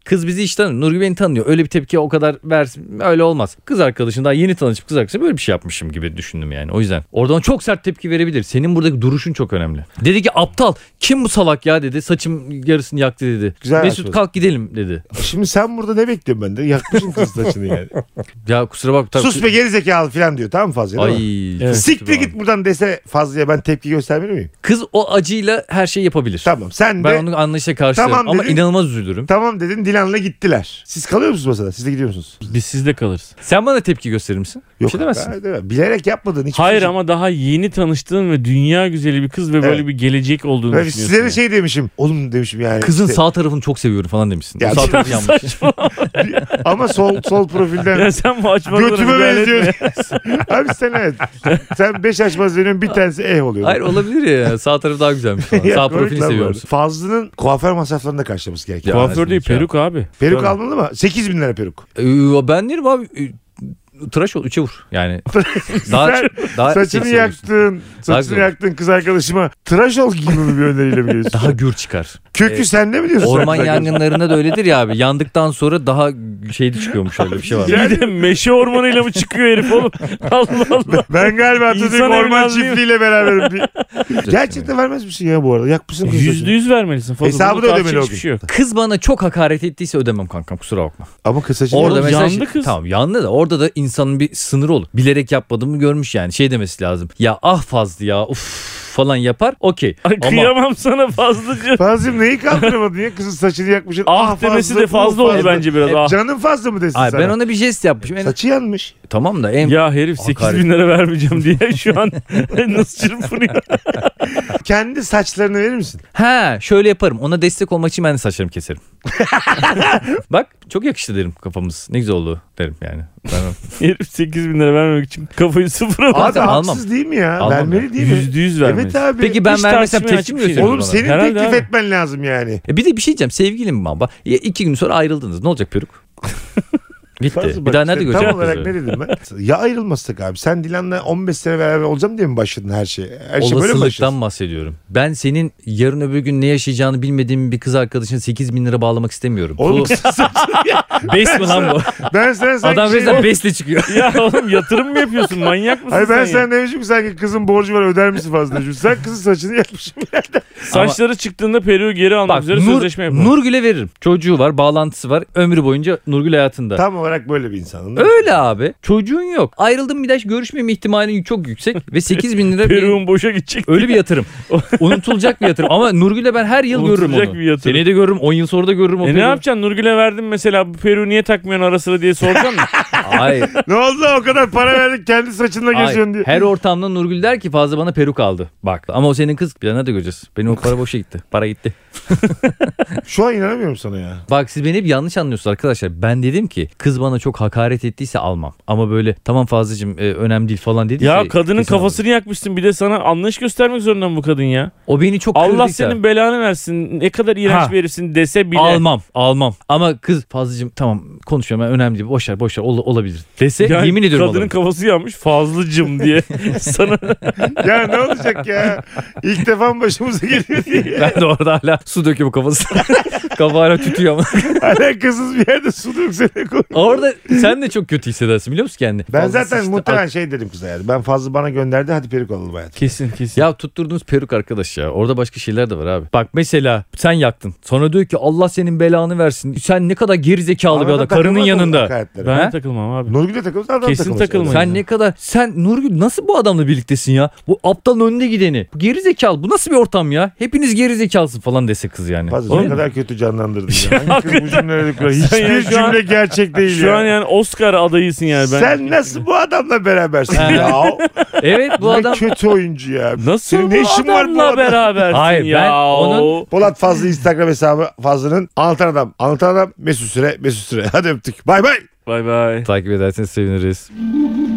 Speaker 3: Kız bizi hiç tanımıyor. Nurgül beni tanıyor. Öyle bir tepkiye o kadar versin. Öyle olmaz. Kız arkadaşın daha yeni tanışıp kız arkadaşına böyle bir şey yapmışım gibi düşündüm yani. O yüzden oradan çok sert tepki verebilir. Senin buradaki duruşun çok önemli. Dedi ki aptal kim bu salak ya dedi. Saçım yarısını yaktı dedi.
Speaker 1: Güzel
Speaker 3: Mesut
Speaker 1: açmış.
Speaker 3: kalk gidelim dedi.
Speaker 1: Şimdi sen burada ne bekliyorsun benden? Yakmışsın kız saçını yani.
Speaker 3: Ya kusura bak. tabii-
Speaker 1: Sus be gerizekalı falan diyor tamam mı Fazlı? değil mi?
Speaker 3: Ay.
Speaker 2: Evet.
Speaker 1: Siktir git buradan dese Fazlı'ya ben tepki göstermeli miyim?
Speaker 3: Kız o acıyla her şeyi yapabilir.
Speaker 1: Tamam sen de
Speaker 3: Ben onun anlayışa karşıyım
Speaker 1: Tamam
Speaker 3: ama
Speaker 1: dedin.
Speaker 3: inanılmaz üzülürüm.
Speaker 1: tamam dedin Dilan'la gittiler. Siz kalıyor musunuz masada? Siz de gidiyor musunuz?
Speaker 2: Biz sizde kalırız.
Speaker 3: Sen bana tepki gösterir misin? bir şey
Speaker 1: abi,
Speaker 3: demezsin.
Speaker 1: hayır demem. Bilerek yapmadığın hiçbir
Speaker 2: Hayır
Speaker 1: şey.
Speaker 2: ama daha yeni tanıştığın ve dünya güzeli bir kız ve böyle
Speaker 1: Evet.
Speaker 2: bir gelecek olduğunu
Speaker 1: Ben
Speaker 2: düşünüyorsun.
Speaker 1: size de
Speaker 2: yani.
Speaker 1: şey demişim. Oğlum demişim yani.
Speaker 3: Kızın
Speaker 1: işte-
Speaker 3: sağ tarafını çok seviyorum falan demişsin.
Speaker 1: Ya
Speaker 3: O sağ
Speaker 1: bir-
Speaker 3: tarafı yanmış.
Speaker 2: Saçma.
Speaker 1: Ama sol sol profilden
Speaker 2: ya sen bu açmalara
Speaker 1: şey- Götüme
Speaker 2: müdahale etme.
Speaker 1: benziyor. Abi sen evet. Sen beş açmaz veriyorsun bir tanesi eh oluyor.
Speaker 3: Hayır olabilir ya. Sağ taraf daha güzelmiş falan.
Speaker 1: Ya,
Speaker 3: sağ
Speaker 1: komik
Speaker 3: profilini
Speaker 1: lan bu
Speaker 3: seviyorum.
Speaker 1: arada. Fazlı'nın kuaför masraflarını da karşılaması gerekiyor.
Speaker 3: Ya,
Speaker 2: Kuaför değil
Speaker 3: kesinlikle.
Speaker 2: peruk abi.
Speaker 1: peruk
Speaker 3: tabii.
Speaker 1: almalı mı? 8 bin lira peruk.
Speaker 3: Ee, ben derim abi e, tıraş ol üçe vur. Yani daha,
Speaker 1: Sen
Speaker 3: daha
Speaker 1: saçını
Speaker 3: seksi olursun.
Speaker 1: yaktın. Saçını
Speaker 3: Tabii.
Speaker 1: yaktın kız arkadaşıma. Tıraş ol gibi bir öneriyle mi geliyorsun?
Speaker 3: Daha gür çıkar.
Speaker 1: Kökü
Speaker 3: e,
Speaker 1: sende mi diyorsun?
Speaker 3: Orman yangınlarında da öyledir ya abi. Yandıktan sonra daha şeydi çıkıyormuş öyle bir şey var.
Speaker 1: Yani-
Speaker 2: Bir de meşe ormanıyla mı çıkıyor herif oğlum? Allah Allah.
Speaker 1: Ben galiba Atatürk
Speaker 2: İnsan
Speaker 1: orman
Speaker 2: evladı değil mi?
Speaker 1: çiftliğiyle beraberim. Bir- Gerçekten vermez misin ya bu arada? Yakmışsın kız
Speaker 2: Yüzde
Speaker 1: saçını.
Speaker 2: yüz vermelisin. Fazla.
Speaker 1: Hesabı
Speaker 2: Bunun
Speaker 1: da
Speaker 2: karşı
Speaker 1: ödemeli o
Speaker 2: hiçbir
Speaker 1: gün.
Speaker 2: şey yok.
Speaker 3: Kız bana çok hakaret ettiyse ödemem kankam kusura bakma.
Speaker 1: Ama kız saçını
Speaker 2: Orada
Speaker 1: Orada
Speaker 2: mesela yandı
Speaker 3: şey-
Speaker 2: kız.
Speaker 3: Tamam yandı da orada da insanın bir sınırı olur. Bilerek yapmadığımı görmüş yani şey demesi lazım. Ya ah fazla ya uf falan yapar okey.
Speaker 2: Ay,
Speaker 3: Ama
Speaker 2: kıyamam sana fazlaca.
Speaker 1: Fazlım neyi kaldıramadın ya? Kızın saçını yakmışsın.
Speaker 2: ah demesi de fazla
Speaker 1: uh,
Speaker 2: oldu bence biraz. Ah.
Speaker 1: Canın fazla mı desin
Speaker 3: Ay,
Speaker 1: sana?
Speaker 3: ben ona bir jest yapmışım. En-
Speaker 1: Saçı yanmış.
Speaker 3: tamam da en
Speaker 2: Ya herif 8 bin lira vermeyeceğim diye şu an nasıl çırpınıyor.
Speaker 1: Kendi saçlarını verir misin?
Speaker 3: ha şöyle yaparım. Ona destek olmak için ben de saçlarımı keserim. Bak çok yakıştı derim kafamız. Ne güzel oldu derim yani. Ben-
Speaker 2: Herif 8 bin lira vermemek için kafayı sıfıra bak.
Speaker 1: Abi
Speaker 3: Zaten
Speaker 1: haksız
Speaker 3: almam.
Speaker 1: değil mi ya?
Speaker 3: Almam
Speaker 1: Vermeli
Speaker 3: ya.
Speaker 1: değil mi?
Speaker 2: Yüzde yüz vermeli.
Speaker 1: Evet abi.
Speaker 3: Peki ben
Speaker 2: Hiç
Speaker 3: vermesem
Speaker 2: tartışmaya
Speaker 3: tepki
Speaker 2: açık
Speaker 3: mi
Speaker 2: bir şey
Speaker 3: gösteriyor
Speaker 1: Oğlum
Speaker 3: bana?
Speaker 1: senin
Speaker 2: Herhalde
Speaker 1: teklif
Speaker 2: abi.
Speaker 1: etmen lazım yani.
Speaker 3: E bir de bir şey diyeceğim sevgilim baba. Ya iki gün sonra ayrıldınız. Ne olacak peruk? Bitti.
Speaker 1: Fazla
Speaker 3: Bir
Speaker 1: bak
Speaker 3: daha nerede
Speaker 1: işte
Speaker 3: göreceğim?
Speaker 1: Tam olarak ne dedim ben? Ya ayrılmazsak abi. Sen Dilan'la 15 sene beraber olacağım diye mi başladın her şeye? Her şey böyle mi başladın?
Speaker 3: Olasılıktan bahsediyorum. Ben senin yarın öbür gün ne yaşayacağını bilmediğim bir kız arkadaşına 8 bin lira bağlamak istemiyorum.
Speaker 1: Oğlum
Speaker 3: bu bes mi lan bu?
Speaker 1: ben sen sanki...
Speaker 3: Adam
Speaker 1: şey-
Speaker 3: resmen besle çıkıyor.
Speaker 2: Ya oğlum yatırım mı yapıyorsun? Manyak mısın
Speaker 1: Hayır ben
Speaker 2: sen? ya?
Speaker 1: sen demişim ki sanki kızın borcu var öder misin fazla demişim. Sen kızın saçını yakmışsın.
Speaker 2: Saçları çıktığında peruğu geri almak
Speaker 3: Bak
Speaker 2: üzere
Speaker 3: Nur,
Speaker 2: sözleşme yapalım.
Speaker 3: Nurgül'e veririm. Çocuğu var, bağlantısı var. Ömrü boyunca Nurgül hayatında.
Speaker 1: Tam olarak olarak böyle bir insanım. değil mi?
Speaker 3: Öyle abi. Çocuğun yok. Ayrıldın bir daha hiç görüşmeme ihtimalin çok yüksek. Ve 8 bin lira bir,
Speaker 2: Peruğum boşa gidecek.
Speaker 3: öyle bir yatırım. Unutulacak bir yatırım. Ama Nurgül'le ben her yıl görürüm
Speaker 2: Unutulacak
Speaker 3: onu.
Speaker 2: bir yatırım.
Speaker 3: Seneye de görürüm. 10 yıl sonra da görürüm. o
Speaker 2: E ne
Speaker 3: peruğu.
Speaker 2: yapacaksın? Nurgül'e verdim mesela bu Peru niye takmıyorsun ara sıra diye soracağım mı?
Speaker 3: Hayır.
Speaker 1: ne oldu o kadar para verdik kendi saçınla geziyorsun diye.
Speaker 3: Her ortamda Nurgül der ki fazla bana peruk aldı. Bak ama o senin kız. Bir daha nerede göreceğiz? Benim o para boşa gitti. Para gitti.
Speaker 1: Şu an inanamıyorum sana ya.
Speaker 3: Bak siz beni hep yanlış anlıyorsunuz arkadaşlar. Ben dedim ki kız bana çok hakaret ettiyse almam. Ama böyle tamam Fazlıcığım e, önemli değil falan
Speaker 1: Şey,
Speaker 3: dediyse.
Speaker 2: ya kadının
Speaker 3: kesin alırım.
Speaker 2: kafasını yakmışsın bir de sana anlayış göstermek zorunda mı bu kadın ya?
Speaker 3: O beni çok
Speaker 2: Allah
Speaker 3: kırdıysa-
Speaker 2: senin belanı versin ne kadar iğrenç
Speaker 3: Ha.
Speaker 2: bir herifsin dese bile.
Speaker 3: Almam almam ama kız Fazlıcığım tamam konuşuyorum ben önemli değil boşver boşver ol, olabilir dese
Speaker 2: Yani
Speaker 3: yemin ediyorum
Speaker 2: Kadının
Speaker 3: alırım.
Speaker 2: kafası yanmış fazlıcım diye sana
Speaker 1: Ya ne olacak ya? İlk defa mı başımıza geliyor diye.
Speaker 3: ben de orada hala su döküyor bu kafasına. Kafa hala tütüyor ama.
Speaker 1: Alakasız bir yerde su döksene koy.
Speaker 3: orada sen de çok kötü hissedersin biliyor musun kendini?
Speaker 1: Ben
Speaker 3: Fazla
Speaker 1: zaten
Speaker 3: sıçtı.
Speaker 1: muhtemelen şey dedim kıza yani. Ben fazla bana gönderdi hadi peruk alalım hayatım.
Speaker 2: kesin kesin.
Speaker 3: Ya tutturduğunuz peruk arkadaş ya. Orada başka şeyler de var abi. Bak mesela sen yaktın. Sonra diyor ki Allah senin belanı versin. Sen ne kadar gerizekalı bir
Speaker 1: Arada
Speaker 3: adam. Karının
Speaker 1: takılmaz
Speaker 3: yanında.
Speaker 1: onun hakaretleri.
Speaker 2: ben
Speaker 3: He?
Speaker 2: takılmam abi.
Speaker 1: Nurgül'e takılmış adam
Speaker 2: Kesin
Speaker 1: takılmış.
Speaker 2: takılmayın.
Speaker 3: Sen ne kadar sen Nurgül nasıl bu adamla birliktesin ya? Bu aptalın önünde gideni. Bu gerizekalı. Bu nasıl bir ortam ya? Hepiniz gerizekalısın falan dese kız yani.
Speaker 1: Fazla
Speaker 3: Oğlum,
Speaker 1: ne kadar kötü canlandırdın ya. Hangi kız bu cümleleri kurar?
Speaker 2: Sen ya
Speaker 1: Hiçbir
Speaker 2: şu an-
Speaker 1: cümle gerçek değil
Speaker 2: Şu
Speaker 1: ya.
Speaker 2: an yani Oscar adayısın yani ben.
Speaker 1: Sen nasıl bu adamla berabersin ya?
Speaker 3: Evet bu
Speaker 1: ne
Speaker 3: adam
Speaker 1: kötü oyuncu ya.
Speaker 2: Nasıl
Speaker 1: Senin ne
Speaker 2: bu
Speaker 1: işin var bu
Speaker 2: adamla
Speaker 1: adam?
Speaker 2: berabersin
Speaker 3: Hayır,
Speaker 2: ya?
Speaker 3: ben onun-
Speaker 1: Polat Fazlı Instagram hesabı Fazlı'nın anlatan adam. Anlatan adam Mesut Süre Mesut Süre. Hadi öptük. Bay bay.
Speaker 2: Bay bay.
Speaker 3: takip ederseniz seviniriz.